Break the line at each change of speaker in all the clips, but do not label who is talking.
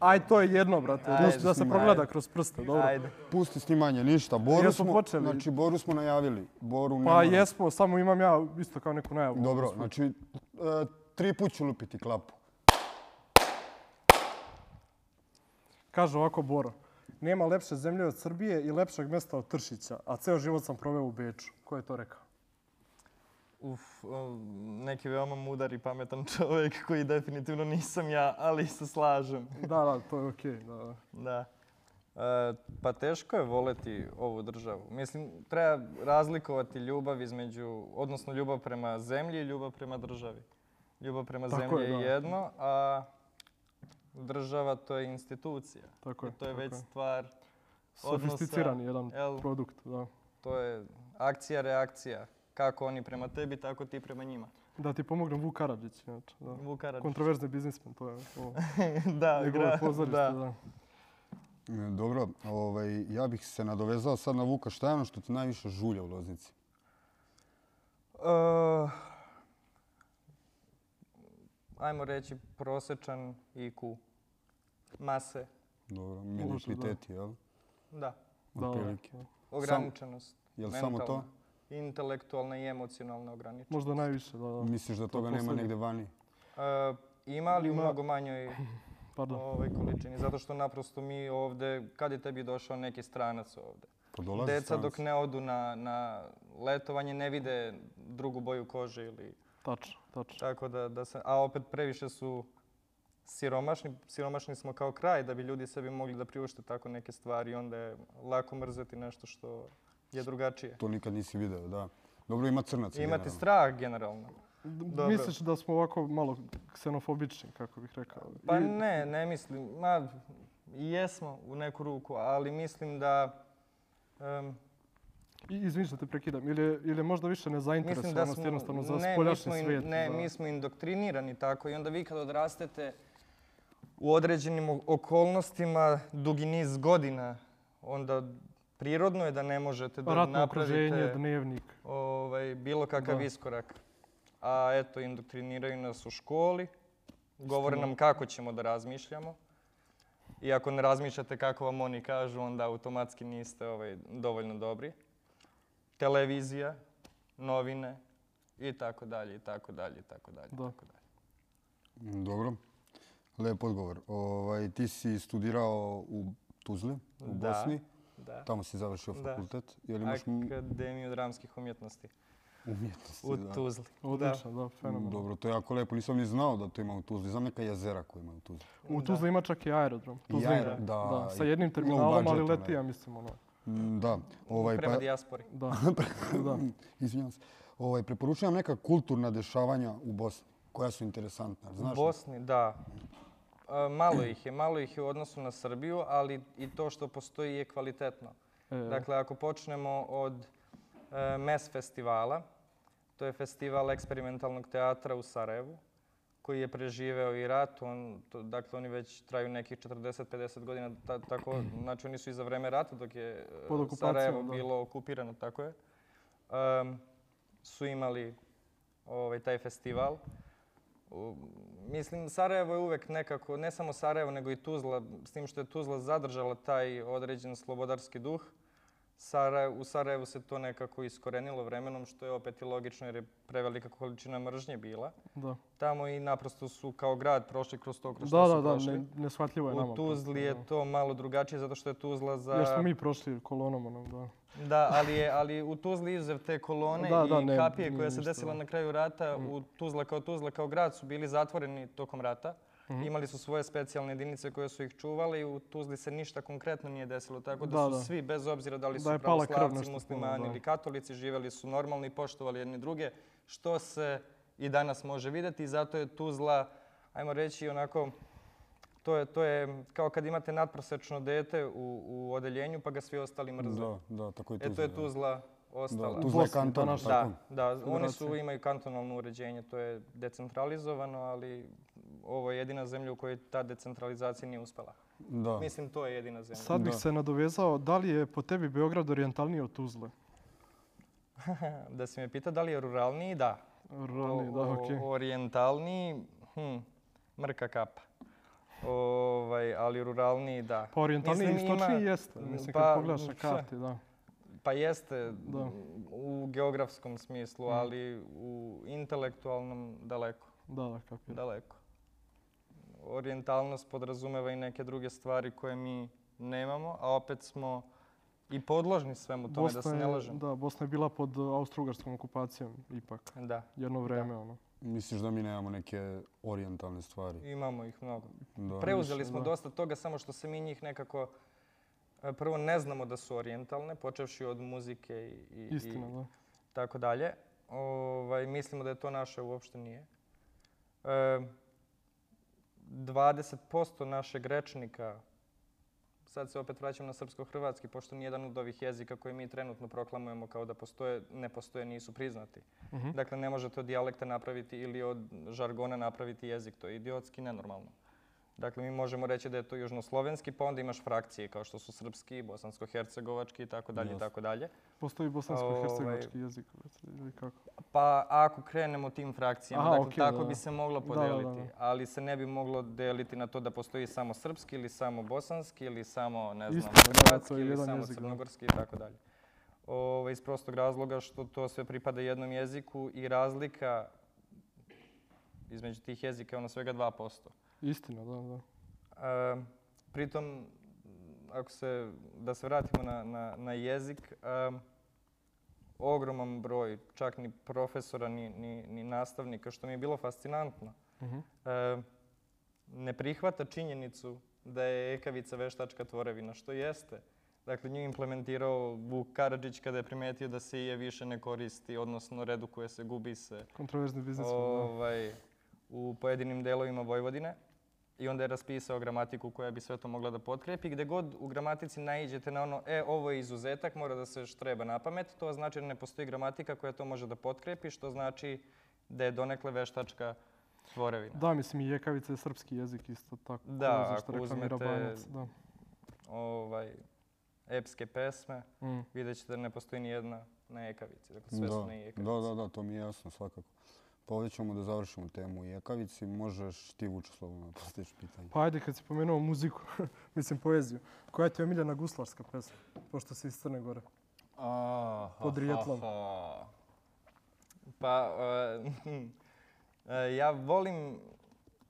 Aj, to je jedno, brate.
Ajde,
Pusti da se
ajde.
progleda kroz prste, dobro.
Ajde.
Pusti snimanje, ništa. Boru
Jesmo
smo,
počeli.
znači, Boru smo najavili. Boru ne
Pa
moram.
jesmo, samo imam ja isto kao neku najavu.
Dobro, znači, e, tri put ću lupiti klapu.
Kaže ovako Boro. Nema lepše zemlje od Srbije i lepšeg mjesta od Tršića, a ceo život sam proveo u Beču. Ko je to rekao?
Uf, um, neki veoma mudar i pametan čovjek koji definitivno nisam ja, ali se slažem.
Da, da, to je okej. da, da.
Da. E, pa teško je voleti ovu državu. Mislim, treba razlikovati ljubav između, odnosno ljubav prema zemlji i ljubav prema državi. Ljubav prema
Tako
zemlji
je,
je,
da.
jedno, a država to je institucija.
Tako je.
I to je
tako
već stvar, odnosa,
Sofisticirani jedan
jel,
produkt, da.
to je akcija, reakcija. Kako oni prema tebi, tako ti prema njima.
Da ti pomognem Vuk Karadžić, znači, da.
Vuk Karadžić.
Kontroverzni biznismen, to je ovo.
da,
Njegovo
gra-
pozorište,
da.
da. da.
E, Dobro, ovaj, ja bih se nadovezao sad na Vuka. Šta je ono što ti najviše žulja u Loznici?
Uh, ajmo reći prosečan IQ. Mase,
Dobro,
da.
mentaliteti, jel?
da.
da.
Otprilike.
Ograničenost.
Jel samo to?
mentalna, Intelektualna i emocionalna ograničenost.
Možda najviše, da, da.
Misliš da toga nema
poslednje.
negde vani?
Uh, ima ali u
Ima-
mnogo manjoj
Pardon.
ovaj, količini. Zato što naprosto mi ovde, kad je tebi došao neki stranac ovde?
Pa dolazi
Deca
stranac.
dok ne odu na, na letovanje ne vide drugu boju kože ili
Tačno, tačno.
Tako da, da se, a opet previše su siromašni, siromašni smo kao kraj da bi ljudi sebi mogli da priušte tako neke stvari i onda je lako mrzeti nešto što je drugačije.
To nikad nisi video, da. Dobro, ima crnac.
I imati
generalno.
strah generalno.
Dobro.
dobro.
Misliš da smo ovako malo ksenofobični, kako bih rekao?
Pa
I-
ne, ne mislim. Ma, i jesmo u neku ruku, ali mislim da... em,
I, izvini što te prekidam, ili, je- ili je možda više
mislim da
nezainteresovanost
smo,
ono jednostavno za
ne, mi
spoljašnji
smo, in-
svijet.
ne,
da.
mi smo indoktrinirani tako i onda vi kad odrastete u određenim o- okolnostima dugi niz godina, onda prirodno je da ne možete da
Ratno okruženje,
napravite
dnevnik.
ovaj, bilo kakav
Da.
iskorak. A eto, indoktriniraju nas u školi, govore nam kako ćemo da razmišljamo. I ako ne razmišljate kako vam oni kažu, onda automatski niste ovaj, dovoljno dobri. Televizija, novine i tako dalje, i tako dalje, i tako dalje. i
Da.
Tako dalje.
Mm, Dobro. Lep odgovor. Ovaj, ti si studirao u Tuzli, u
Da.
Bosni.
Da.
Tamo si završio
Da.
fakultet. Je li imaš m-
Akademiju dramskih umjetnosti
umjetnosti?
u
da?
Tuzli.
Odlično, da, fenomen.
Dobro, to je jako lepo. Nisam ni znao da to ima u Tuzli. Znam neka jezera koja ima u Tuzli.
U
Da.
Tuzli ima čak i aerodrom. Tuzli
aero-
igra.
da,
da. Sa
i
jednim
low
terminalom, ali
budgetom,
leti,
ne.
ja mislim, ono.
Mm, Da. Ovaj,
Prema
pa,
dijaspori.
Da, da.
izvinjavam se. Ovaj, preporučujem vam neka kulturna dešavanja u Bosni koja su interesantna. Znaš,
U Bosni, da. E, Malo ih je, malo ih je u odnosu na Srbiju, ali i to što postoji je kvalitetno.
E,
Dakle, ako počnemo od e, MES festivala, to je festival eksperimentalnog teatra u Sarajevu, koji je preživeo i rat. On, to, dakle, oni već traju nekih 40-50 godina. Ta, tako, znači, oni su i za vreme rata, dok je e,
Pod okupacijom,
Sarajevo
da.
bilo okupirano, tako je. Em, su imali ovaj, taj festival. U- Mislim, Sarajevo je uvek nekako, ne samo Sarajevo, nego i Tuzla, s tim što je Tuzla zadržala taj određen slobodarski duh, Sara, u Sarajevu se to nekako iskorenilo vremenom, što je opet i logično jer je prevelika količina mržnje bila.
da.
Tamo i naprosto su kao grad prošli kroz to kroz što
Da,
su
da, da,
prošli.
ne, neshvatljivo je nama.
u Tuzli
prosto,
je to malo drugačije zato što je Tuzla
da. Jer
za...
smo mi prošli kolonom, onom, da.
Da, ali, je, ali u Tuzli izuzev te kolone
Da,
i
da, ne,
kapije
nije
koja se
ništa, Mm.
desila
da.
na kraju rata, u Tuzla kao Tuzla kao grad su bili zatvoreni tokom rata.
Mhm.
Imali su svoje specijalne jedinice koje su ih čuvale i u Tuzli se ništa konkretno nije desilo. Tako da,
Da,
su
da.
svi, bez obzira da li su
Da je pala krv
pravoslavci,
nešto
muslimani
puno, da.
ili katolici, živeli su normalno i poštovali jedni druge, što se i danas može vidjeti. Zato je Tuzla, ajmo reći, onako To je, to je kao kad imate nadprosečno dete u, u odeljenju pa ga svi ostali mrze.
Da, da, tako je Tuzla.
E, to je
da.
Tuzla
Da,
ostala.
Tuzla je
Bosni,
kanton,
današnji.
tako?
Da, da, oni su,
Federacija.
imaju kantonalno uređenje, to je decentralizovano, ali ovo je jedina zemlja u kojoj ta decentralizacija nije uspela.
Da.
Mislim, to je jedina zemlja.
Sad bih
Da.
se nadovezao, da li je po tebi Beograd orijentalniji od Tuzle?
Da se me pita da li je ruralniji, da.
Rani, da,
O- o-
okej.
Orijentalniji, hm, mrka kapa. Ovaj, ali ruralniji, da.
Pa orijentalni i
Mislim, ima-
istočni jeste. Mislim, kad
pa,
pogledaš na
šta?
karti, da.
Pa jeste
Da.
m, u geografskom smislu,
Mm.
ali u intelektualnom daleko.
Da, da, kapiram.
daleko. Orientalnost podrazumeva i neke druge stvari koje mi nemamo, a opet smo i podložni svemu tome, da se ne
je-
lažemo.
Da, Bosna je bila pod uh, austrougarskom okupacijom ipak.
Da,
Jedno vreme, ono.
Misliš da mi nemamo neke orijentalne stvari?
imamo ih mnogo.
Da.
Preuzeli
više,
smo
da.
dosta toga, samo što se mi njih nekako... e, Prvo, ne znamo da su orijentalne, počevši od muzike i, i,
Istina,
i
da.
tako dalje. Ovaj, mislimo da je to naše, uopšte nije. E, 20% našeg rečnika, sad se opet vraćam na srpsko-hrvatski, pošto nijedan od ovih jezika koje mi trenutno proklamujemo kao da postoje, ne postoje, nisu priznati.
Mhm.
Dakle, ne možete od dijalekta napraviti ili od žargona napraviti jezik. To je idiotski, nenormalno. Dakle, mi možemo reći da je to južnoslovenski, pa onda imaš frakcije kao što su srpski, bosansko-hercegovački i tako dalje i
Jasno.
tako dalje.
Postoji bosansko-hercegovački
Ovaj-
jezik, recimo, ili kako?
Pa ako krenemo tim frakcijama,
Aha,
dakle,
okej,
tako
da.
bi se moglo
Da, da, da, da.
podeliti. Ali se ne bi moglo deliti na to da postoji samo srpski ili samo bosanski ili samo, ne znam,
Istina, da, to je
hrvatski ili
jedan
samo
jezik, da.
crnogorski i tako dalje. Ovaj, iz prostog razloga što to sve pripada jednom jeziku i razlika između tih jezika je ono svega 2%.
Istina, da, da.
E, pritom, ako se, da se vratimo na, na, na jezik, e, ogroman broj, čak ni profesora, ni, ni, ni nastavnika, što mi je bilo fascinantno,
Mhm.
e, ne prihvata činjenicu da je ekavica veštačka tvorevina, što jeste. Dakle, nju je implementirao Vuk Karadžić kada je primetio da se je više ne koristi, odnosno redukuje se, gubi se
Kontroverzni biznis. da.
ovaj, u pojedinim delovima Vojvodine i onda je raspisao gramatiku koja bi sve to mogla da potkrepi. Gde god u gramatici naiđete na ono, e, ovo je izuzetak, mora da se štreba na pamet, to znači da ne postoji gramatika koja to može da potkrepi, što znači da je donekle veštačka tvorevina.
Da, mislim i jekavica je srpski jezik isto tako.
Da,
ono za
ako
što reklamira
uzmete-
Banjac, Da.
Ovaj, epske pesme,
Mm.
vidjet ćete da ne postoji ni jedna na ekavici. Dakle, sve su
Da,
na ekavici.
da, da, da, to mi je jasno svakako. Pa ovdje ćemo da završimo temu Jekavici. Možeš ti vuče slobodno da postaviš pitanje.
Pa ajde, kad si pomenuo muziku, mislim poeziju, koja ti je omiljena guslarska pesma, pošto si iz Crne Gore? Podrijetlom.
Aha. Pa, e, ja volim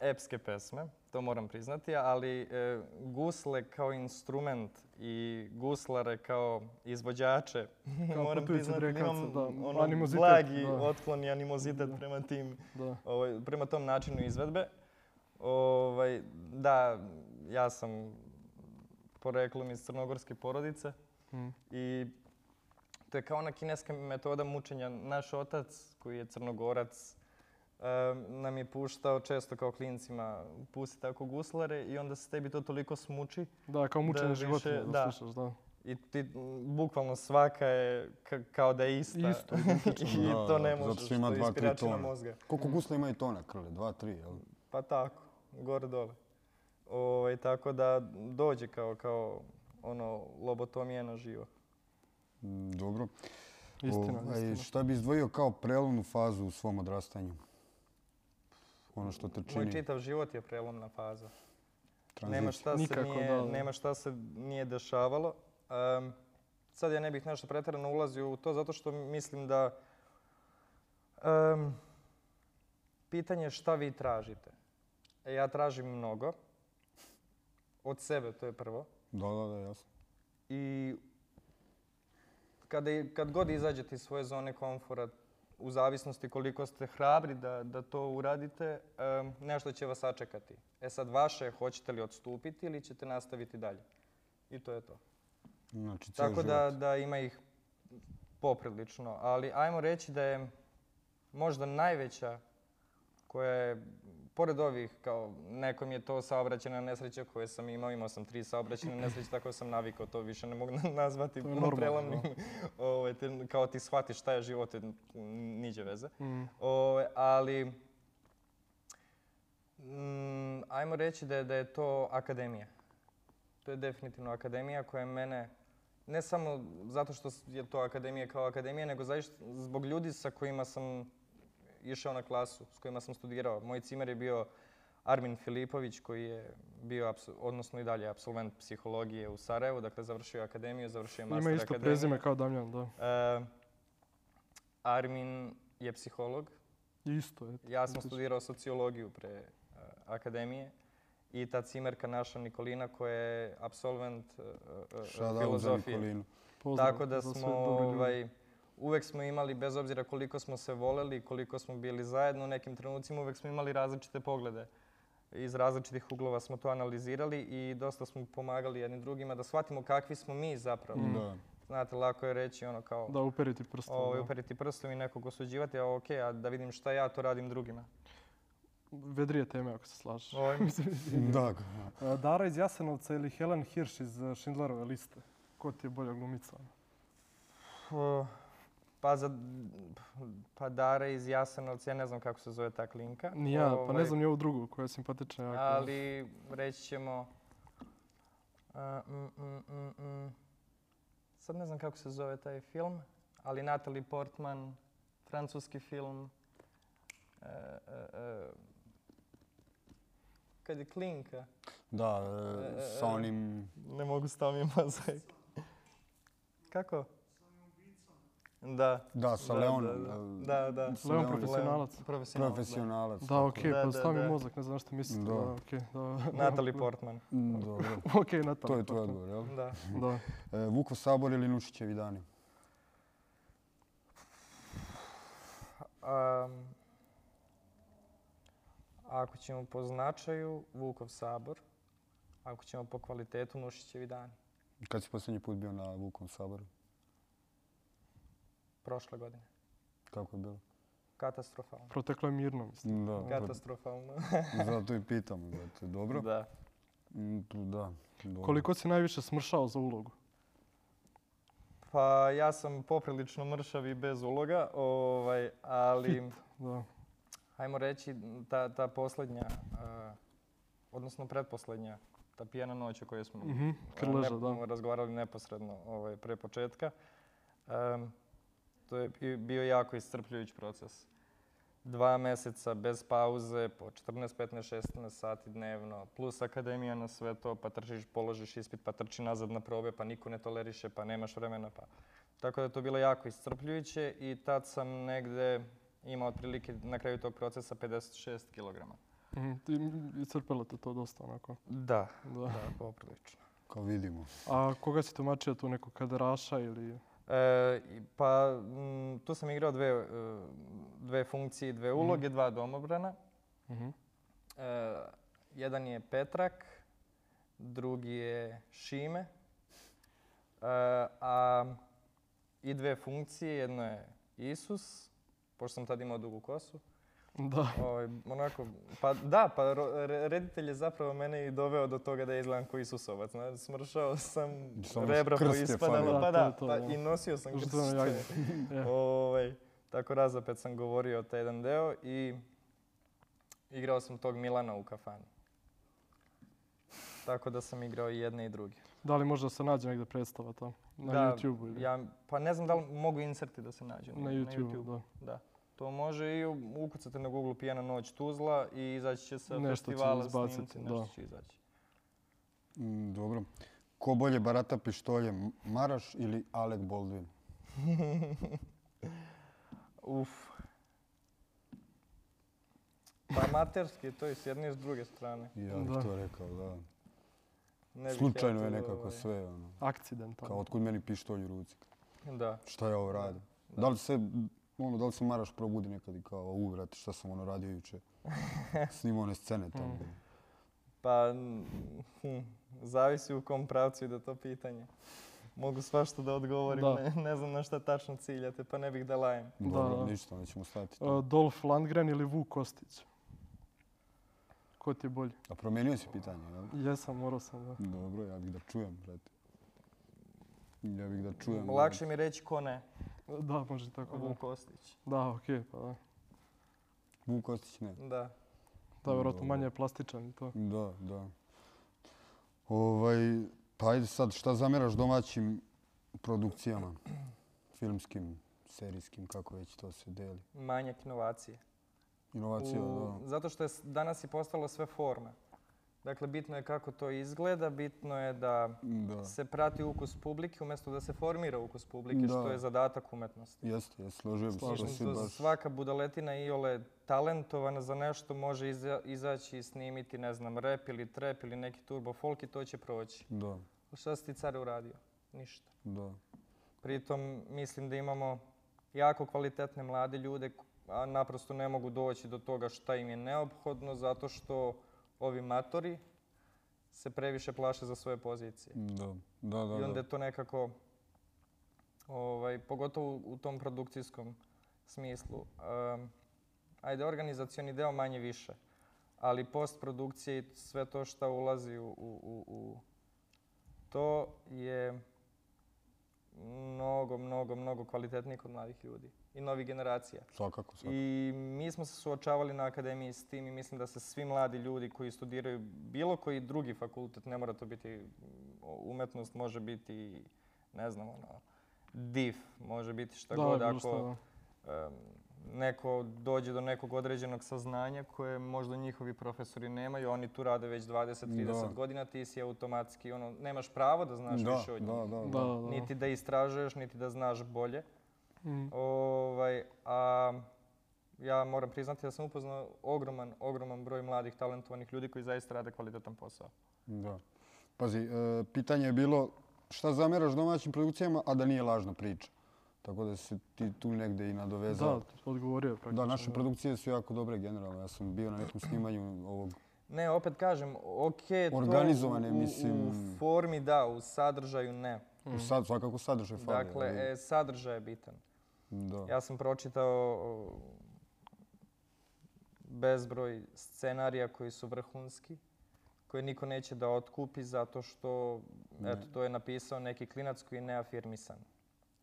epske pesme, to moram priznati, ali e, gusle kao instrument i guslare kao izvođače,
Kao
moram
putujuće
priznati da imam
drekavce, da,
ono,
animozitet,
blagi
da.
otklon i animozitet
Da.
prema tim
Da.
ovaj, prema tom načinu izvedbe. Ovaj, da, ja sam poreklom iz crnogorske porodice
Mm.
i to je kao ona kineska metoda mučenja. Naš otac, koji je crnogorac, em, nam je puštao često kao klincima pusti tako guslare i onda se tebi to toliko smuči
Da, kao mučenje
više-
životinje, da,
da.
slušaš, da.
i ti, m, bukvalno svaka je ka- kao da je ista.
Isto,
I
Da,
to
da,
ne
zato
možeš,
što
što
ima
je
dva, tri
ispiračina
tona.
mozga.
Koliko gusla ima i tona krle? Dva, tri, jel?
Pa tako, gore dole. Ovaj, tako da dođe kao, kao ono lobotomijena živa.
Mm, Dobro.
Istina,
Ovaj,
istina.
Šta bi izdvojio kao prelomnu fazu u svom odrastanju? Ono što te
Moj
čini
čitav život je prelomna faza. Nema
tranziciju.
šta, se
Nikako,
nije,
da, da.
nema šta se nije dešavalo. Em, sad ja ne bih nešto pretjerano ulazio u to zato što mislim da em, pitanje je šta vi tražite. E, ja tražim mnogo. Od sebe, to je prvo.
Da, da, da, jasno.
I kada, i- kad god izađete iz svoje zone komfora, u zavisnosti koliko ste hrabri da, da to uradite, em, nešto će vas sačekati. E sad vaše je hoćete li odstupiti ili ćete nastaviti dalje. I to je to.
Znači, cijel
Tako da, da ima ih poprilično. Ali ajmo reći da je možda najveća koja je, pored ovih, kao nekom je to saobraćena nesreća koje sam imao, imao sam tri saobraćene nesreće, tako da sam navikao, to više ne mogu na- nazvati
To je normalno,
prelomnim. Ovaj, te- kao ti shvatiš šta je život, n- niđe veze.
Mm.
Ovaj, ali, mm, ajmo reći da je, da je to akademija. To je definitivno akademija koja je mene, ne samo zato što s- je to akademija kao akademija, nego zaista zbog ljudi sa kojima sam išao na klasu, s kojima sam studirao. Moj cimer je bio Armin Filipović koji je bio, apsu- odnosno i dalje, apsolvent psihologije u Sarajevu, dakle završio je akademiju, završio je
Ima
master
isto
akademiju.
prezime kao Damjan, da.
E, Armin je psiholog.
Isto je.
Ja sam
Tipično.
studirao sociologiju pre e, akademije i ta cimerka naša Nikolina koja je absolvent e, e, e,
Šada za
filozofije.
Nikolinu.
Pozdrav
Tako da
za sve
smo,
dobre ljude.
ovaj, uvek smo imali, bez obzira koliko smo se voleli, koliko smo bili zajedno u nekim trenucima, uvek smo imali različite poglede. Iz različitih uglova smo to analizirali i dosta smo pomagali jedni drugima da shvatimo kakvi smo mi zapravo.
Mm.
Mm. Da.
Znate, lako je reći ono kao
Da, uperiti prstom.
ovaj,
da.
uperiti prstom i nekog osuđivati, a ok, a da vidim šta ja to radim drugima.
Vedrije teme ako se slažeš.
Ovaj,
Mm.
Da.
A, Dara iz Jasenovca ili Helen Hirsch iz e, Schindlerove liste? Ko ti je bolja glumica?
o, pa za pa Dara iz Jasenovca, ja ne znam kako se zove ta klinka.
Ni ja, pa
Ovaj,
ne znam ni ovu drugu koja je simpatična. Jako.
Ali reći ćemo... a, mm, mm, mm, mm. Sad ne znam kako se zove taj film, ali Natalie Portman, francuski film. e, e, e, Kad je klinka,
Da,
E, e,
e,
e.
sa onim...
ne mogu staviti mozaj. Kako? Da.
Da, sa
da,
Leonom.
Da, da. da.
Sa
Leon
Leonom.
profesionalac.
Profesionalac.
Profesionalac.
Da,
tako.
okej,
Da,
pa
da,
stavi
da.
mozak, ne znam što mislite. Da,
Da.
okej. da.
da. Natalie Portman.
Mm, Dobro,
Okej, Natalie.
to je tvoj
Portman.
odgovor, jel?
Da.
Da.
E, Vuko Sabor ili Nušićevi dani?
Um, ako ćemo po značaju, Vukov sabor. Ako ćemo po kvalitetu, Nušićevi dani.
Kad si posljednji put bio na Vukom Saboru?
Prošle godine.
Kako je bilo?
Katastrofalno.
Proteklo je mirno, mislim.
Da,
Katastrofalno.
pa- zato i pitam. Zato, dobro? Da.
da.
da dobro.
Koliko si najviše smršao za ulogu?
Pa ja sam poprilično mršav i bez uloga, ovaj, ali
Da.
hajmo reći ta, ta posljednja, eh, odnosno pretposlednja, ta pijena noć o kojoj smo
Mhm, Krleža, da.
Pa razgovarali neposredno ovaj, pre početka. Em, to je bi- bio jako iscrpljujući proces. Dva meseca bez pauze, po 14, 15, 16 sati dnevno, plus akademija na sve to, pa trčiš, položiš ispit, pa trči nazad na probe, pa niko ne toleriše, pa nemaš vremena. Pa. Tako da je to bilo jako iscrpljujuće i tad sam negde imao otprilike na kraju tog procesa 56 kilograma.
Mhm, ti- Iscrpilo te to dosta onako.
Da,
Da.
da, poprilično.
Kao vidimo.
A koga si tumačio tu nekog kaderaša ili...
E, i- pa m, tu sam igrao dve, e, dve funkcije, i dve
Mhm.
uloge, dva domobrana.
Mhm.
E, jedan je Petrak, drugi je Šime. E, a i dve funkcije, jedno je Isus, pošto sam tad imao dugu kosu.
Da.
Ovaj, onako, pa da, pa ro- re- reditelj je zapravo mene i doveo do toga da ja izgledam kao Isusovac. Znači, smršao sam,
Samo
rebra
krst je
poispadala,
falio.
pa
Da, to
da,
je to,
pa
da.
i nosio sam
Žutveno
krst.
jagnje. E.
Ovaj, tako razapet sam govorio taj jedan deo i igrao sam tog Milana u kafani. Tako da sam igrao i jedne i druge.
Da li možda se nađe negdje predstava tamo? Na YouTube-u ili?
Ja, pa ne znam da li mogu inserti da se nađu.
na YouTube-u, da.
Da. To može i u- ukucate na Google Pijana noć Tuzla i izaći će sa
Nešto će
festivala
izbaciti,
snimci, nešto
da.
će izaći.
Mm, dobro. Ko bolje barata pištoljem, Maraš ili Alec Baldwin?
Uf. Pa amaterski je to i s jedne i s druge strane.
Ja bih
Da.
to rekao, da.
Ne bih ja
Slučajno
to,
je nekako
ovaj,
sve, ono.
Akcidentalno.
Kao, otkud meni pištolj u ruci?
Da.
Šta ja ovo radim? Da li se, ono, da li se Maraš probudi nekad i kao, u, brate, šta sam ono radio juče? Snimao one scene tamo.
Pa, n- hm, zavisi u kom pravcu ide to pitanje. Mogu svašta da odgovorim,
Da.
Ne, ne znam na šta tačno ciljate, pa ne bih da lajem.
Dobro,
Da.
ništa, nećemo staviti to.
E, Dolph Landgren ili Vuk Kostić? Ko ti je bolji?
A promijenio si pitanje, jel?
Jesam, morao sam da.
Dobro, ja bih da čujem, brate. Ja bih da čujem.
Lakše mi reći ko ne,
Da, može i tako da.
Vuk Kostić.
Da, okej, pa da.
Vuk Ostić ne.
Da.
Da, vjerojatno
Dobro.
manje je plastičan i to.
Da, da. Ovaj, pa ajde sad, šta zameraš domaćim produkcijama? Filmskim, serijskim, kako već to se deli?
Manjak inovacije.
Inovacija,
u,
da.
zato što je s- danas je postalo sve forme. Dakle, bitno je kako to izgleda, bitno je da
Da.
se prati ukus publike umjesto da se formira ukus publike, što
Da.
je zadatak umetnosti.
Jeste, jeste, složio bi se
Mislim
što si
da
baš.
svaka budaletina iole talentovana za nešto može iza, izaći i snimiti, ne znam, rap ili trap ili neki turbo folk i to će proći.
Da,
Šta si ti care uradio? Ništa.
da.
Pritom mislim da imamo jako kvalitetne mlade ljude, k- a naprosto ne mogu doći do toga šta im je neophodno zato što ovi matori se previše plaše za svoje pozicije.
Da, da, da.
I onda
da.
je to nekako, ovaj, pogotovo u tom produkcijskom smislu. Um, ajde, organizacioni deo manje više, ali postprodukcija i sve to što ulazi u, u, u, u to je mnogo, mnogo, mnogo kvalitetnije kod mladih ljudi i novih generacija.
Svakako, svakako.
I mi smo se suočavali na akademiji s tim i mislim da se svi mladi ljudi koji studiraju bilo koji drugi fakultet, ne mora to biti mm, umetnost, može biti, ne znam, ono, div, može biti šta god.
bilo
Ako
šta, da.
em, neko dođe do nekog određenog saznanja koje možda njihovi profesori nemaju, oni tu rade već 20-30
Da.
godina, ti si automatski, ono, nemaš pravo da znaš
Da,
više od njih.
da, da,
Da,
da.
da, da.
Niti da istražuješ, niti da znaš bolje.
Mm.
Ovaj, a ja moram priznati da sam upoznao ogroman, ogroman broj mladih talentovanih ljudi koji zaista rade kvalitetan posao.
Da. Pazi, e, pitanje je bilo šta zameraš domaćim produkcijama, a da nije lažna priča. Tako da se ti tu negde i
Da,
nadovezao.
odgovorio
pa
je praktično.
Da, naše produkcije su jako dobre generalno. Ja sam bio na nekom snimanju ovog...
Ne, opet kažem, ok,
Organizovane,
to u- u, u
mislim.
formi da, u sadržaju ne.
Mm.
u Sad, svakako sadržaj fali.
Mhm. Dakle,
ali-
e, sadržaj je bitan.
da.
Ja sam pročitao o, bezbroj scenarija koji su vrhunski, koje niko neće da otkupi zato što, eto, to je napisao neki klinac koji je neafirmisan.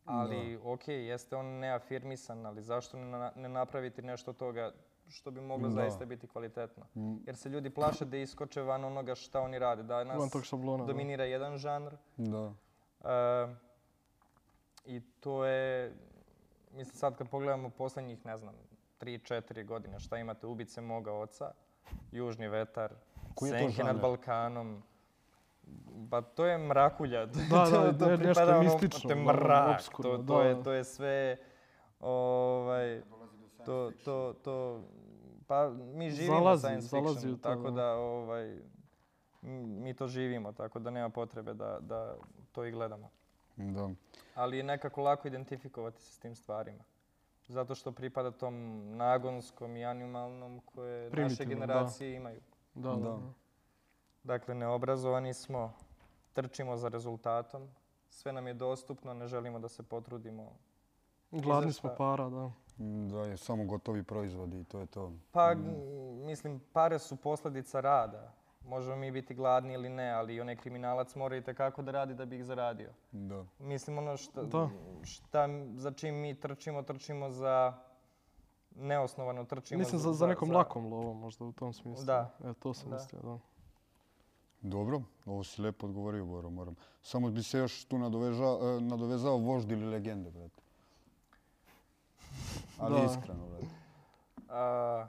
Ali, okej, jeste on neafirmisan, ali zašto ne, na- ne napraviti nešto od toga što bi moglo
Da.
zaista biti kvalitetno? Jer se ljudi plaše da iskoče van onoga šta oni rade.
Van
Danas
tog šablona. da.
dominira jedan žanr,
Da.
E, I to je, mislim sad kad pogledamo poslednjih, ne znam, 3-4 godine, šta imate, Ubice moga oca, Južni vetar,
Koji je to
Senke nad
žanr?
Balkanom, Pa to je mrakulja. To-
Da, da,
to- to
ne- nešto
pripada ono-
mistično,
To je
da,
mrak,
obskurno,
to, to,
da.
je, to je sve... Ovaj, to, to, to, pa mi živimo
Zalazi,
science
zalazi
fiction,
u to,
tako
da.
da ovaj, m- mi to živimo, tako da nema potrebe da, da to i gledamo.
Da.
Ali je nekako lako identifikovati se s tim stvarima. Zato što pripada tom nagonskom i animalnom koje naše
Primitivnom, da.
generacije imaju.
Da, da,
Da.
da.
Dakle, neobrazovani smo, trčimo za rezultatom, sve nam je dostupno, ne želimo da se potrudimo.
Gladni
Izašla.
smo para, da.
Da, je samo gotovi proizvodi i to je to.
Pa,
Mm.
m, mislim, pare su posljedica rada. Možemo mi biti gladni ili ne, ali i onaj kriminalac mora i da radi da bi ih zaradio.
Da.
Mislim, ono šta,
Da.
šta, za čim mi trčimo, trčimo za neosnovano trčimo.
Mislim za, za nekom lakom lovom možda u tom smislu.
Da.
E, to sam
Da.
mislio, da.
Dobro, ovo si lepo odgovorio, Boro, moram. Samo bi se još tu nadovežao, e, nadovezao vožd ili legende, brate. Ali
Da.
iskreno, brate.
A,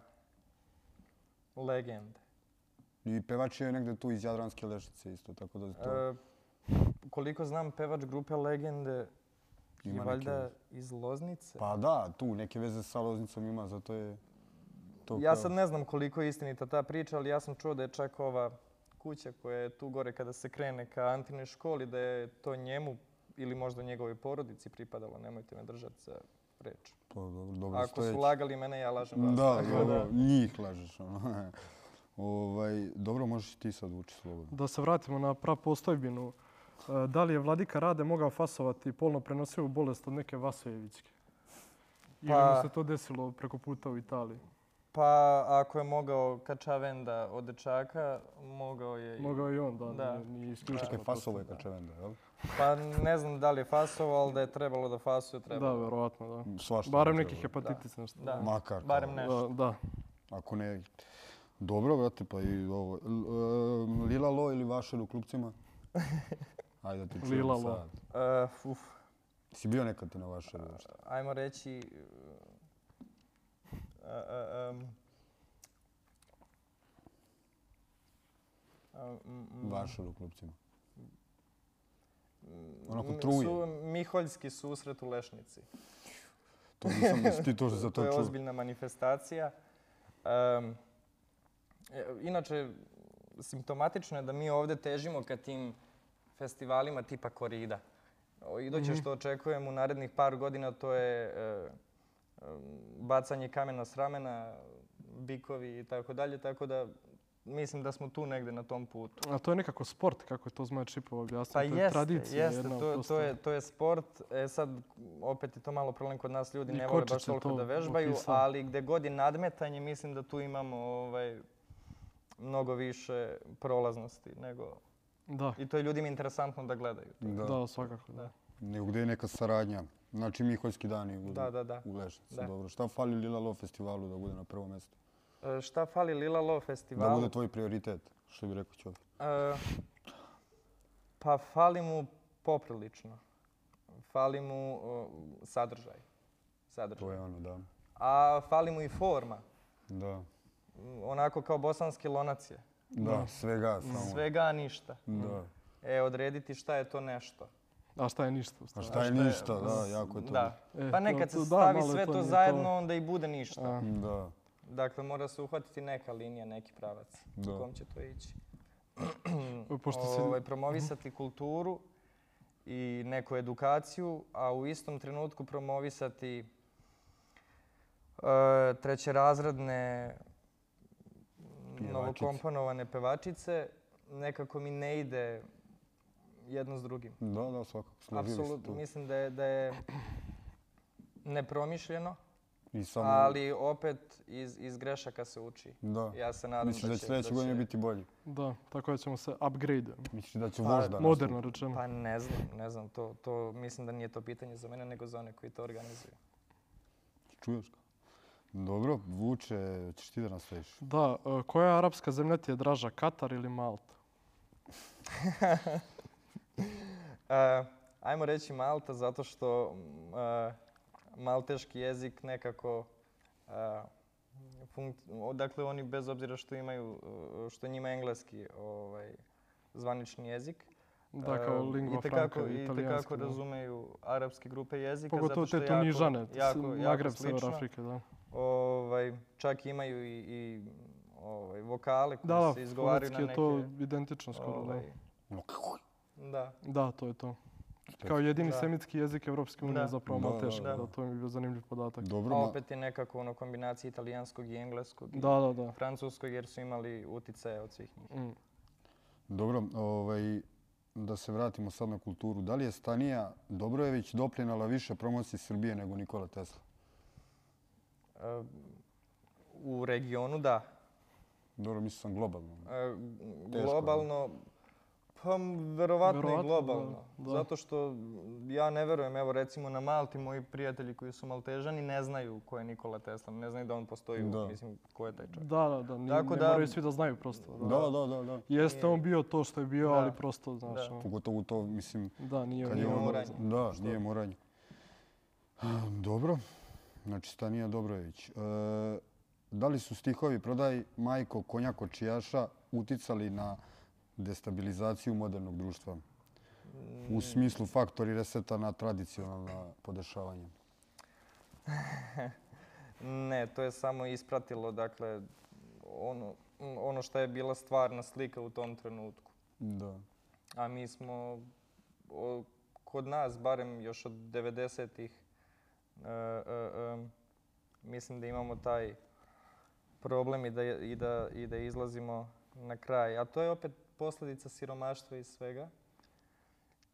legende.
I pevač je negde tu iz Jadranske lešice isto, tako da to
E, koliko znam, pevač grupe Legende je
ima neke...
valjda
veze.
iz Loznice.
Pa da, tu neke veze sa Loznicom ima, zato je... To
ja sad ne znam koliko je istinita ta priča, ali ja sam čuo da je čak ova kuća koja je tu gore kada se krene ka Antinoj školi, da je to njemu ili možda njegovoj porodici pripadalo. Nemojte me držati za reč.
Pa, dobro, dobro
Ako su
stojeći.
lagali mene, ja lažem vas.
Da,
Tako
da, da, njih lažeš. Ono. ovaj, dobro, možeš i ti sad uči slobodno.
Da se vratimo na prapostojbinu. E, Da li je Vladika Rade mogao fasovati polno prenosivu bolest od neke Vasojevićke? Ili
Pa-
mu se to desilo preko puta u Italiji?
Pa ako je mogao Kačavenda od dečaka, mogao je i...
Mogao je i on, da,
Da.
nije, nije isključeno.
Čekaj,
to
fasovo je
sad, da.
kačevenda, jel?
Pa ne znam da li je fasovo, ali da je trebalo da fasuje,
Da,
trebalo.
verovatno, da.
Svašta.
Barem
bi
neki
trebalo.
hepatitis, nešto.
Da.
Makar. to.
Barem
Da,
nešto.
da.
Ako ne... Dobro, brate, pa i ovo. L- e, Lila Lo ili Vašer u klupcima? Ajde da ti čujem
Lila
Lila
Lo.
sad.
E, uf,
Si bio nekad ti na Vašeru? uopšte?
ajmo reći... e, e, em, m- m-
Varšar u klupcima. Onako
m-
truje.
Su, Miholjski susret u Lešnici.
To nisam, jesi ti to za to
je
čuo.
ozbiljna manifestacija. Um, e, inače, simptomatično je da mi ovdje težimo ka tim festivalima tipa Korida. O,
Mhm.
Iduće što očekujem u narednih par godina to je e, e, bacanje kamena s ramena, bikovi i tako dalje, tako da mislim da smo tu negde na tom putu.
A to je nekako sport, kako je to Zmaja Čipova objasnio.
Pa
to je
jeste,
tradicija.
jeste,
jedna
to, to,
prosto.
je, to je sport. E sad, opet je to malo problem kod nas, ljudi ne
Nikočić
vole baš
je
toliko
to
da vežbaju,
opisao.
ali gdje god je nadmetanje, mislim da tu imamo ovaj, mnogo više prolaznosti. Nego,
Da,
I to je ljudima interesantno da gledaju.
Da.
da, svakako. Da.
Da.
Nego gdje je neka saradnja. Znači Miholjski dani u,
Da, da, da.
u Lešnici.
Da.
Dobro. Šta fali Lila Love festivalu da bude na prvo mjesto?
E, šta fali Lila Love
Da
festivalu?
bude tvoj prioritet, što bi rekao Ćofi.
E, pa fali mu poprilično. Fali mu e, sadržaj. sadržaj.
To je ono, da.
A fali mu i forma.
Da.
Onako kao bosanski lonac je.
Da, svega samo.
Svega a ništa.
Da.
E, odrediti šta je to nešto.
Mm. A šta je ništa? u
A
stvari?
šta je ništa, da, jako je to.
Da.
E,
Pa
to-
nekad se
to da,
stavi
malo je
sve
to,
to,
nije to-
zajedno, onda i bude ništa.
A,
Da.
Dakle, mora se uhvatiti neka linija, neki pravac.
Da.
U kom će to ići.
Pošto se-
Mhm.
Ovaj, promovisati kulturu i neku edukaciju, a u istom trenutku promovisati e, trećerazredne
Pjevačice.
novokomponovane pevačice. Nekako mi ne ide jedno s drugim.
Da, da, svakako. Složili se
Apsolutno,
tu.
mislim da je, da je nepromišljeno,
I samo,
ali opet iz, iz grešaka se uči.
da.
Ja se nadam
Misliš da će sljedeće
da
godine biti bolji?
Da, tako da ćemo se upgrade.
Misliš da će
Pa,
vožda
Moderno rečeno.
Pa ne znam, ne znam, to, to mislim da nije to pitanje za mene, nego za one koji to organizuju.
Čuješ ga? Dobro, Vuče, ćeš ti da nastaviš?
Da, e, koja arapska zemlja ti je draža, Katar ili Malta?
E, ajmo reći Malta zato što m, e, malteški jezik nekako e, funk- o, dakle oni bez obzira što imaju e, što je njima engleski ovaj zvanični jezik
Da,
E,
kao Dakle, lingua franca i italijanska.
kako
da.
razumeju arapske grupe jezika
Pogotovo
zato što
te
je jako,
tonižane,
jako, jako
Magreb, Sever
slično.
Afrike, da.
Ovaj, čak imaju i, i ovaj, vokale koji
Da, da,
se izgovaraju na
fonetski
neke...
je to identično skoro, da.
ovaj, da.
Da, to je to. Kao jedini
Da.
semitski jezik Evropske unije
Da.
je zapravo
Da, da,
malteški,
da.
da, to mi je bio zanimljiv podatak.
Dobro,
A
ma-
opet je nekako ono kombinacija italijanskog i engleskog i
Da, da, da.
francuskog jer su imali uticaje od svih njih.
Mm.
Dobro, ovaj, da se vratimo sad na kulturu. Da li je Stanija Dobrojević doprinala više promociji Srbije nego Nikola Tesla?
E, U regionu da.
Dobro, mislio sam globalno.
E,
Teško,
Globalno, pa m, verovatno,
Verovatno,
i globalno.
da, da.
Zato što ja ne verujem, evo recimo na Malti moji prijatelji koji su maltežani ne znaju ko je Nikola Tesla, ne znaju da on postoji,
Da.
da. mislim ko je taj čovjek.
Da, da, da, ni,
Tako
ne
da-
moraju svi da znaju prosto. Da.
Da, da, da, da.
Jeste
Nije-
on bio to što je bio,
Da.
ali prosto, znaš,
Da.
ono,
Pogotovo to, mislim,
da, nije
kad
nije
je
ono-
on...
moranje.
Da, nije moranje. Dobro, znači Stanija Dobrojević. E, da li su stihovi Prodaj majko konja kočijaša uticali na destabilizaciju modernog društva? U
Mm.
smislu faktori reseta na tradicionalna podešavanja.
Ne, to je samo ispratilo, dakle, ono, ono što je bila stvarna slika u tom trenutku.
Da.
A mi smo, o, kod nas, barem još od 90-ih, e, e, e, mislim da imamo taj problem i da, je- i, da, i da izlazimo na kraj. A to je opet posljedica siromaštva i svega.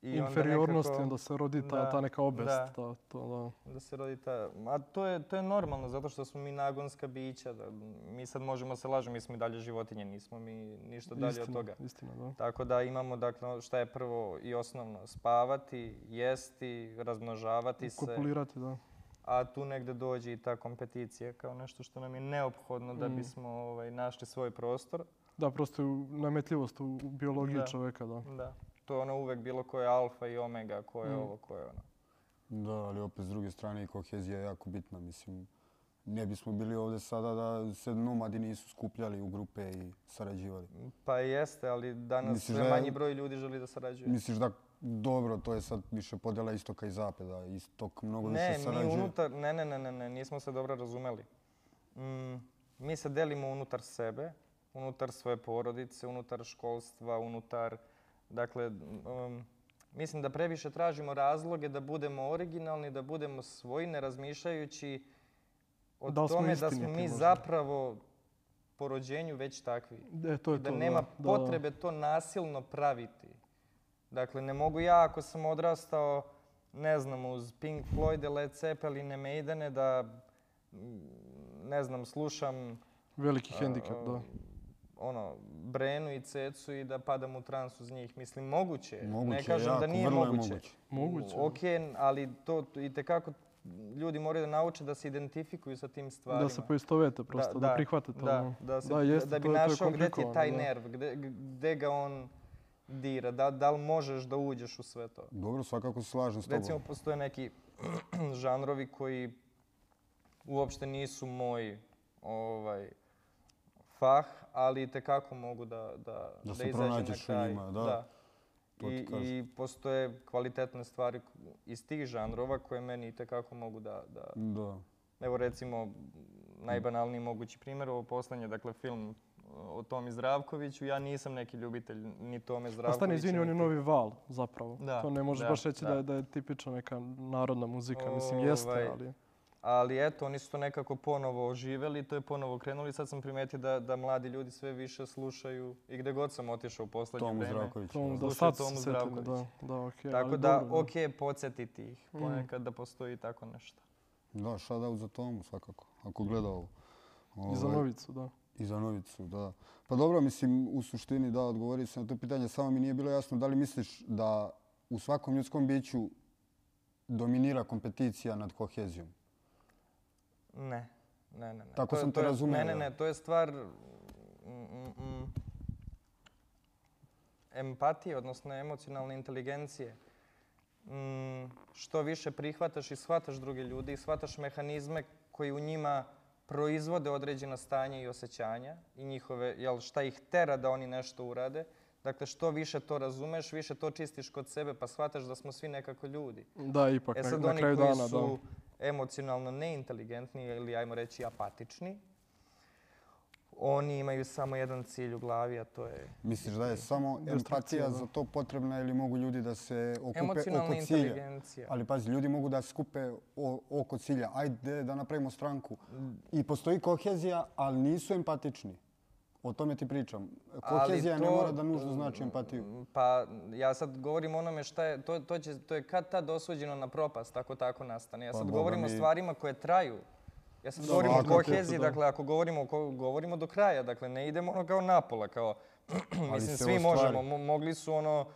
onda
inferiornosti,
nekako-
onda, se rodi ta,
da,
ta neka obest.
da.
Ta, to,
Da se rodi ta... A to je, to je normalno, zato što smo mi nagonska bića. Da, mi sad možemo se lažemo, mi smo i dalje životinje, nismo mi ništa
da.
dalje
istina,
od toga.
Istina, da.
Tako da imamo, dakle, ono šta je prvo i osnovno, spavati, jesti, razmnožavati se.
Kopulirati, da.
A tu negde dođe i ta kompeticija kao nešto što nam je neophodno da
Mm.
bismo ovaj, našli svoj prostor.
Da, prosto je u- nametljivost u u biologiji
Da.
čoveka, da.
Da. To je ono uvek bilo ko je alfa i omega, ko je
Mm.
ovo, ko je ono.
Da, ali opet s druge strane i kohezija je jako bitna, mislim. ne bismo bili ovdje sada da se nomadi nisu skupljali u grupe i sarađivali.
Pa jeste, ali danas
Misliš
sve
da je-
manji broj ljudi želi da sarađuje.
Misliš da dobro, to je sad više podjela istoka i zapada, istok mnogo
Ne,
više
mi
sarađuje.
unutar, ne, ne, ne, ne, ne, nismo se dobro razumeli. Mm, mi se delimo unutar sebe, unutar svoje porodice, unutar školstva, unutar... Dakle, um, mislim da previše tražimo razloge da budemo originalni, da budemo svoji, ne razmišljajući o
Da li smo
tome da smo
istiniti
mi
možda?
zapravo po rođenju već takvi
E, to je
da
to,
nema
da, da.
potrebe to nasilno praviti. Dakle, ne mogu ja ako sam odrastao, ne znam, uz Pink Floyd, Led Zeppelin, Maidene, da, mm, ne znam, slušam
Veliki
a,
hendikap, da.
ono, Brenu i Cecu i da padam u trans uz njih. Mislim, moguće. je.
Moguće,
ne kažem
jako,
da nije
vrlo je
moguće.
moguće.
Moguće.
Ok, ali to i tekako ljudi moraju da nauče da se identifikuju sa tim stvarima.
Da se poistovete prosto, da, prihvatate.
Da,
ono.
da, se,
Da,
da,
jeste,
da bi
to je- to je
našao gdje ti je
komplikovano,
taj
da.
nerv, gdje, gdje ga on dira, da, da li možeš da uđeš u sve to.
Dobro, svakako se slažem s tobom.
Recimo, postoje neki žanrovi koji uopšte nisu moj ovaj, fah, ali tekako mogu da, da,
Da se
izađem na
pronađeš u
kraj.
njima, da. To ti
I,
kažem.
I postoje kvalitetne stvari iz tih žanrova koje meni tekako mogu da, da,
Da.
Evo recimo, m, najbanalniji mogući primjer, ovo poslednje, dakle film e, o Tomi Zdravkoviću. Ja nisam neki ljubitelj ni Tome
Pa
Zdravkovića.
stani, izvini, on je
niti-
novi val zapravo.
Da,
to ne možeš
da,
baš reći da,
da.
je- da je tipična neka narodna muzika. Mislim, jeste,
Ovaj,
ali...
Ali eto, oni su to nekako ponovo oživeli, to je ponovo krenuli. Sad sam primetio da, da mladi ljudi sve više slušaju i gde god sam otišao u poslednje
Tomu
vreme.
Zdravkoviću.
To,
da.
da,
Slušaj
sad su
Tomu
se setili, da.
Zdravkovića.
da okay,
Tako
ali
da,
dobro, da.
ok, podsjetiti ih
Mm.
ponekad da postoji tako nešto.
Da, shout out za Tomu svakako, ako gleda ovo.
I za
Ovaj,
novicu, da.
I za novicu, da. Pa dobro, mislim, u suštini da, odgovorio sam na to pitanje, samo mi nije bilo jasno da li misliš da u svakom ljudskom biću dominira kompeticija nad kohezijom.
Ne, ne, ne. ne.
Tako
je-
sam te
je-
razumeo,
Ne, ne,
ja.
ne, to je stvar mm, mm, mm, empatije, odnosno emocionalne inteligencije. Mm, što više prihvataš i shvataš druge ljude i shvataš mehanizme koji u njima proizvode određena stanja i osjećanja i njihove, jel, šta ih tera da oni nešto urade. Dakle, što više to razumeš, više to čistiš kod sebe pa shvataš da smo svi nekako ljudi.
Da, ipak,
E
na-
sad
Pa na
oni koji
kraju dana, da.
su emocionalno neinteligentni ili ajmo reći apatični, oni imaju samo jedan cilj u glavi, a to je
Misliš da je samo
Destrukcija,
empatija
da.
za to potrebna ili mogu ljudi da se okupe
emocionalna
oko cilja?
inteligencija.
Ali pazi, ljudi mogu da se skupe o- oko cilja. Ajde da napravimo stranku. I postoji kohezija, ali nisu empatični. O tome ti pričam.
Ali
Kohezija ne
to-
mora da nužno znači empatiju.
Pa ja sad govorim o onome šta je, to, to, će, to je kad tad osuđeno na propast, tako tako nastane. Ja
Pa,
sad
Boga
govorim o
mi.
stvarima koje traju. Ja sad
Da,
govorim o
svakako,
koheziji,
da.
dakle ako govorimo, o ko, govorimo do kraja, dakle ne idemo ono kao napola, kao mislim
se
svi
ovo stvari-
možemo, mo- mogli su ono,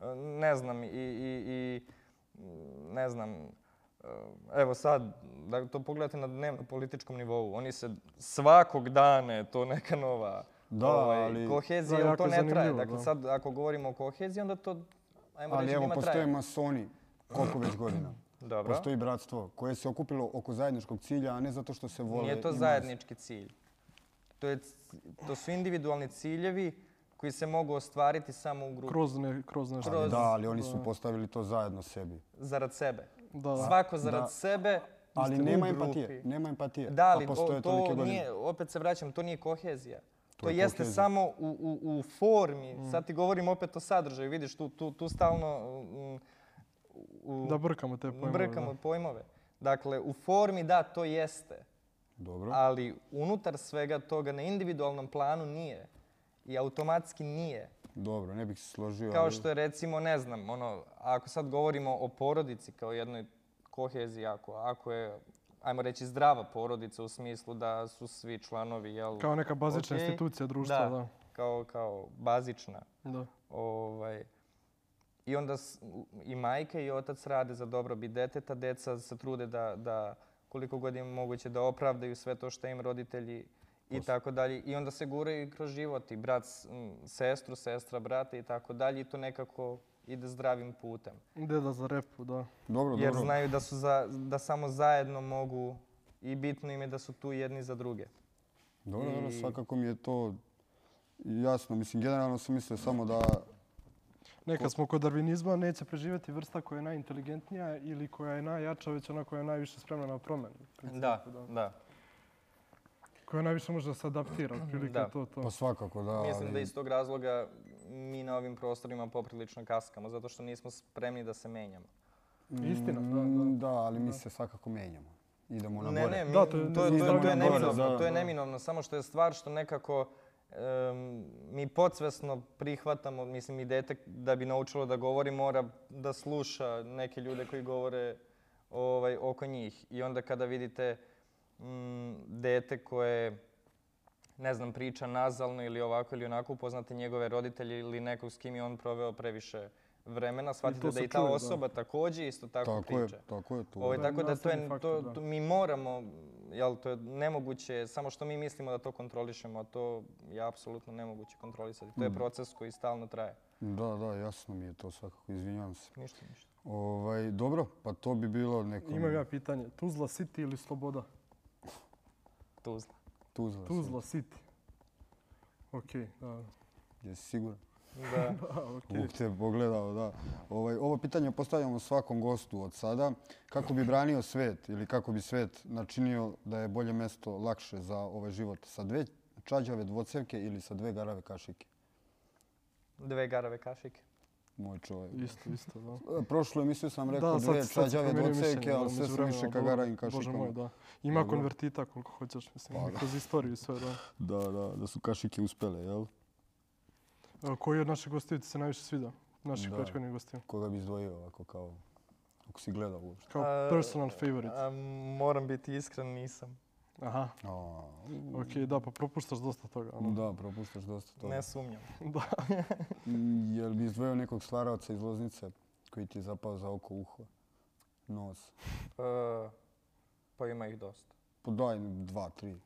e, ne znam, i, i, i m, ne znam, e, Evo sad, da to pogledate na dnevno političkom nivou, oni se svakog dana je to neka nova ovaj,
Da, ali-
kohezija,
Da,
ali
jako
to
je
ne traje.
zanimljivo,
Dakle,
da.
sad ako govorimo o koheziji, onda to, ajmo
Ali
reći,
evo,
njima
postoje
traje.
masoni, koliko već godina.
Dobro.
Postoji bratstvo koje se okupilo oko zajedničkog cilja, a ne zato što se vole.
Nije to
i mrze.
zajednički cilj. To, je, c- to su individualni ciljevi koji se mogu ostvariti samo u grupi,
Kroz, ne, kroz nešto.
Kroz-
Da, ali oni su
Da.
postavili to zajedno sebi.
zarad sebe.
Da, da.
Svako zarad
Da.
sebe.
Ali
u
nema
grupi.
empatije, nema empatije.
Da, ali
pa
o,
postoje
to
tolike godine.
nije, opet se vraćam, to nije kohezija. To,
To je
jeste
kohezija. Mm.
samo u, u, u formi. Sad ti govorim opet o sadržaju. Vidiš, tu, tu, tu stalno mm, u,
Da brkamo te pojmove.
brkamo pojmove. Dakle, u formi da, to jeste.
Dobro.
Ali unutar svega toga na individualnom planu nije. I automatski nije.
Dobro, ne bih se složio.
Kao
ali-
što je recimo, ne znam, ono, ako sad govorimo o porodici kao jednoj koheziji, ako, ako je, ajmo reći, zdrava porodica u smislu da su svi članovi, jel?
Da. Kao neka bazična
ok,
institucija društva, da.
Kao, kao bazična.
da.
Ovaj, I onda s- u- i majka i otac rade za dobrobit deteta. Deca se trude da, da koliko god im moguće da opravdaju sve to što im roditelji i tako dalje. I onda se guraju i kroz život i brat s- m, sestru, sestra brata i tako dalje. I to nekako ide zdravim putem.
Deda za repu, da.
Pa, Dobro,
Jer
dobro.
znaju da, su za, da samo zajedno mogu i bitno im je da su tu jedni za druge.
Dobro, dobro,
I-
svakako mi je to jasno. Mislim, generalno sam mislio samo da
Nekad smo kod darvinizma, neće preživjeti vrsta koja je najinteligentnija ili koja je najjača, već ona koja je najviše spremna na promjenu. u principu,
Da, da.
Koja najviše može da se adaptira, otprilike
Da.
to to.
Pa svakako, da.
Mislim
ali-
da iz tog razloga mi na ovim prostorima poprilično kaskamo, zato što nismo spremni da se menjamo.
Istina, da,
Mm,
da.
Da, ali mi se svakako menjamo. Idemo na
Ne,
gore.
ne, mi,
Da,
to,
to je-
je, to, je,
idemo
to je
na gore,
neminovno,
da,
to je
da.
neminovno, samo što je stvar što nekako em, mi podsvesno prihvatamo, mislim i dete da bi naučilo da govori mora da sluša neke ljude koji govore ovaj, oko njih. I onda kada vidite mm, dete koje ne znam, priča nazalno ili ovako ili onako, upoznate njegove roditelje ili nekog s kim je on proveo previše vremena, shvatite
se
da i ta
čuje, da.
osoba također isto tako,
Tako je,
priča.
tako je to.
Ovaj,
Da,
tako da to
nastavni
je,
faktor,
to,
da.
to, mi moramo, jel, to je nemoguće, samo što mi mislimo da to kontrolišemo, a to je apsolutno nemoguće kontrolisati. To je proces koji stalno traje.
Da, da, jasno mi je to svakako, izvinjavam se.
Ništa, ništa.
Ovaj, dobro, pa to bi bilo neko...
Imam ja pitanje. Tuzla City ili Sloboda?
Pa
Tuzla.
Tuzla. sam.
Tuzla City. Okej, da.
Jesi siguran?
Da.
da okej.
Uvijek te pogledao, da. Ovaj, ovo pitanje postavljamo svakom gostu od sada. Kako bi branio svet ili kako bi svet načinio da je bolje mesto lakše za ovaj život? Sa dve čađave dvocevke ili sa dve garave kašike?
Dve garave kašike.
Moj čovjek.
Isto, isto, da.
Prošlo emisiju sam rekao
sad-
dve
sad sam
čađave
promijenio
dvocevke,
mišljenje, da,
ali sve sam
međuvremenu,
više
ali
ka
dobro,
garavim kašikama.
Bože moj, da. Ima
Dobro.
konvertita koliko hoćeš, mislim,
Pa da.
kroz istoriju i sve, da.
Da, da, da su kašike uspele, jel?
E, Koji od naših gostiju ti se najviše svida? Naših
Da.
prethodnih gostiju.
Koga bi izdvojio ovako kao, ako si gledao uopšte?
Kao
A,
personal favorite.
A, moram biti iskren, nisam.
Aha,
A,
okej, da, pa propuštaš dosta toga. ono.
da, propuštaš dosta toga.
Ne sumnjam.
Da.
Mm, Jel bi izdvojio nekog stvaraoca iz Loznice koji ti je zapao za oko, uho, nos?
E, pa ima ih dosta.
Pa daj dva, tri.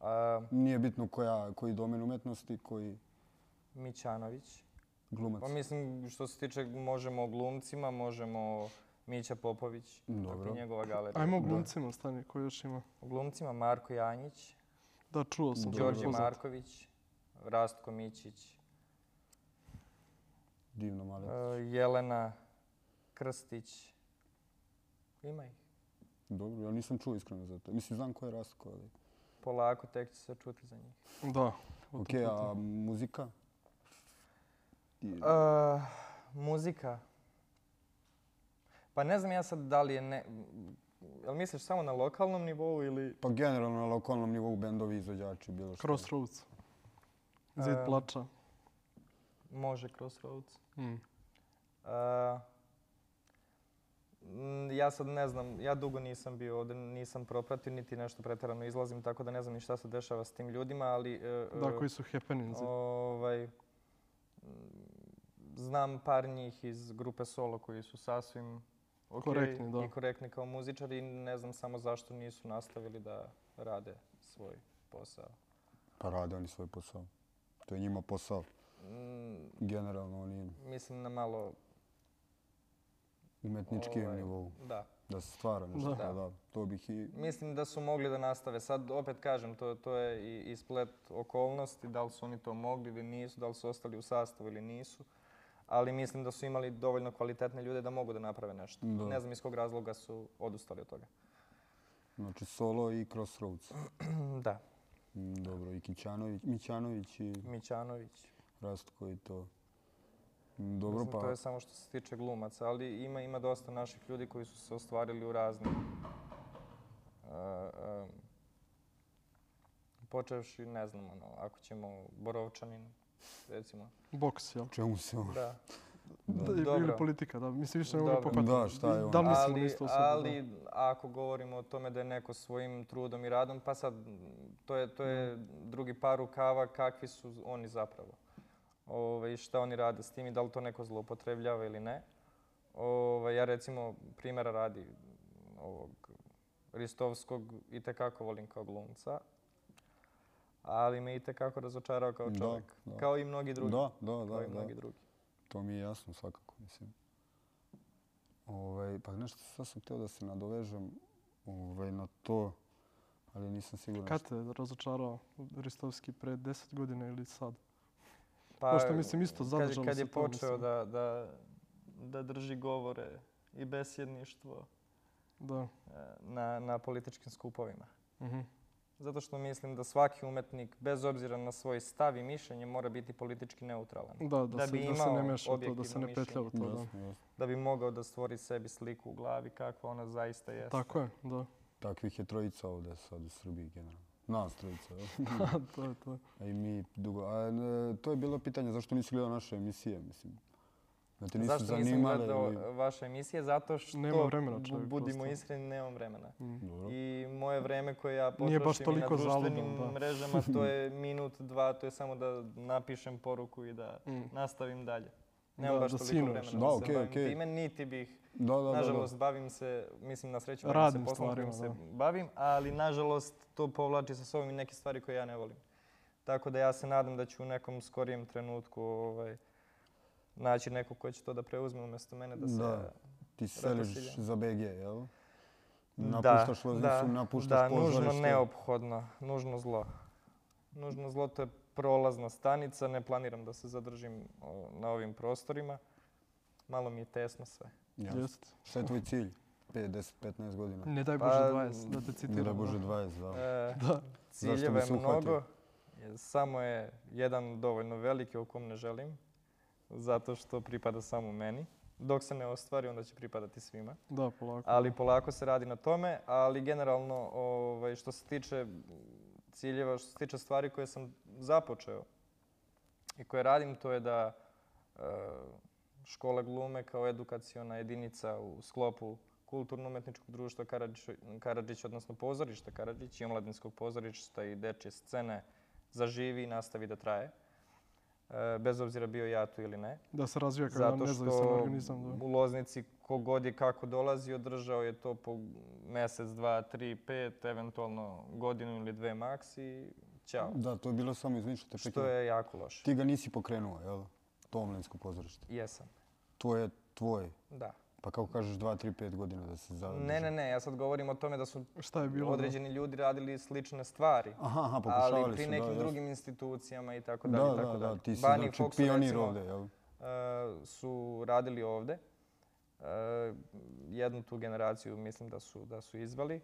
A,
Nije bitno koja, koji domen umetnosti, koji
Mićanović.
glumac.
Pa mislim, što se tiče, možemo o glumcima, možemo o Mića Popović. Tako
Dobro.
i njegova galerija.
Ajmo o
Da.
glumcima, stani, koji još ima?
O glumcima Marko Janjić.
Da, čuo sam.
Dobro.
Đorđe
prepoznat.
Marković, Rastko Mićić,
Divno
e,
malo.
Jelena Krstić. Ima ih.
Dobro, ja nisam čuo iskreno za to. Mislim, znam ko je Rastko, ali...
Polako, tek će se čuti za njih.
Da. o
Ok,
tom
a
potom.
muzika? I-
E, muzika. Pa ne znam ja sad da li je ne... Jel misliš samo na lokalnom nivou ili...
Pa generalno na lokalnom nivou bendovi, izvođači, bilo što.
Crossroads. Zid
E,
plača.
Može Crossroads.
Mm.
E, m, ja sad ne znam, ja dugo nisam bio ovdje, nisam propratio niti nešto pretjerano izlazim, tako da ne znam ni šta se dešava s tim ljudima, ali... e,
Da,
e,
koji su happenings.
Ovaj, m, znam par njih iz grupe Solo koji su sasvim okay
Korektni, da.
i korektni kao muzičari i ne znam samo zašto nisu nastavili da rade svoj posao.
Pa rade oni svoj posao. To je njima posao.
Mm,
Generalno oni
mislim na malo...
umetnički
ovaj,
nivou.
Da.
Da se stvara nešto.
Da.
Da. da. To bih i...
Mislim da su mogli da nastave. Sad opet kažem, to, to je i, i splet okolnosti, da li su oni to mogli ili nisu, da li su ostali u sastavu ili nisu. Ali mislim da su imali dovoljno kvalitetne ljude da mogu da naprave nešto.
Da.
Ne znam iz kog razloga su odustali od toga.
Znači solo i crossroads.
Da,
Mm, Dobro, i Kićanović, Mićanović i
Mićanović.
Rastko i to. Mm, Dobro
Mislim,
pa...
To je samo što se tiče glumaca, ali ima, ima dosta naših ljudi koji su se ostvarili u raznim... Uh, um, počevši, ne znam, ono, ako ćemo Borovčanin, recimo.
Boks, jel?
Čemu se on...
Da.
Da, i-
Dobro.
ili politika, da. Mislim, više ne mogu
Dobro.
popratiti.
Da, šta je ono?
Da li mislimo
ali,
Pa isto osoba,
ali ako govorimo o tome da je neko svojim trudom i radom, pa sad m, to je, to je drugi par rukava kakvi su oni zapravo. Ove, šta oni rade s tim i da li to neko zloupotrebljava ili ne. Ove, ja recimo primjera radi ovog Ristovskog i tekako volim kao glumca, ali me i tekako razočarao kao
Da,
čovjek.
da.
Kao i mnogi drugi.
Da, da,
kao
da,
i mnogi
da.
drugi.
To mi je jasno svakako, mislim. Ovaj, pa nešto sad sam htio da se nadovežem ovaj, na to ali nisam siguran.
Kad te je razočarao Ristovski pre 10 godina ili sad?
Pa
Pošto mislim isto zadržalo
kad, kad
se
je
to,
počeo
mislim.
da, da, da drži govore i besjedništvo
Da.
e,
na, na političkim skupovima.
Mhm.
Zato što mislim da svaki umetnik, bez obzira na svoj stav i mišljenje, mora biti politički neutralan.
Da, da,
Da
se,
bi
da se ne
imao
meša u to, da
objektivno
se ne petlja u to. Da.
Jasno, jasno.
Da bi mogao da stvori sebi sliku u glavi kakva ona zaista jeste.
Tako je, da.
Takvih je trojica ovdje sad u Srbiji generalno. Nas trojica, jel?
to je to.
A i mi dugo. A, e, to je bilo pitanje zašto nisi gledao naše emisije, mislim. Da te nisu
Zašto nisam
zanimale
gledao
ili...
vaše emisije? Zato što,
Nema vremena,
bu-
čovjek,
budimo
prosto.
iskreni, nemam vremena.
Mm.
Dobro.
I moje vreme koje ja
Nije baš
potrošim i na
toliko zaludno,
društvenim
da.
mrežama, to je minut, dva, to je samo da napišem poruku i da
Mm.
nastavim dalje.
Da,
Nemam baš
da
toliko
sinuješ.
vremena
Da,
da se
okej,
bavim
okej.
time, niti bih
Da, da, da, da.
Nažalost, bavim se, mislim, na sreću bavim
Radim
se poslom
stvarima,
kojim se bavim, ali nažalost to povlači sa sobom i neke stvari koje ja ne volim. Tako da ja se nadam da ću u nekom skorijem trenutku ovaj, naći neko ko će to da preuzme umjesto mene da se...
Da. Ti seliš
Radosiljan.
za BG, jel?
Da,
Napuštaš loznicu, napuštaš
da,
pozorište.
nužno neophodno, nužno zlo. Nužno zlo to je prolazna stanica, ne planiram da se zadržim o, na ovim prostorima. Malo mi je tesno sve.
Jasno.
Jeste.
Šta je tvoj cilj? 5, 10, 15 godina?
Ne daj
Pa,
Bože 20, da te citiram.
Ne daj Bože
da.
20, da.
E,
Da.
Zašto bi
ciljeva
se
je
uhvatio?
mnogo. Samo je jedan dovoljno veliki o kom ne želim, zato što pripada samo meni. Dok se ne ostvari, onda će pripadati svima.
Da, polako.
Ali polako se radi na tome, ali generalno ovaj, što se tiče ciljeva, što se tiče stvari koje sam započeo i koje radim, to je da e, škola glume kao edukaciona jedinica u sklopu kulturno-umetničkog društva Karadžić, Karadžić, odnosno pozorišta Karadžić i omladinskog pozorišta i dečje scene zaživi i nastavi da traje. E, bez obzira bio ja tu ili ne.
Da se razvija kao jedan
Zato
nezavisan
što
organizam. Da.
u Loznici kogod je kako dolazi, održao je to po mjesec, dva, tri, pet, eventualno godinu ili dve maks i ćao.
Da, to je bilo samo izmišljate
Što je jako loše.
Ti ga nisi pokrenuo, jel? To omlinsko pozorište.
Jesam,
To je tvoj.
da.
Pa kako kažeš 2, 3, 5 godina da se zadrži?
Ne, ne, ne, ja sad govorim o tome da su
Šta je bilo?
određeni ljudi radili slične stvari.
Aha, aha, pokušavali
Ali pri
su,
nekim
da,
drugim institucijama i tako
Da,
dalje. i
da,
tako
da, da,
dalje.
ti si
Bunny
znači
Fox,
pionir
recimo,
ovdje, jel?
e, su radili ovde. E, jednu tu generaciju mislim da su, da su izvali.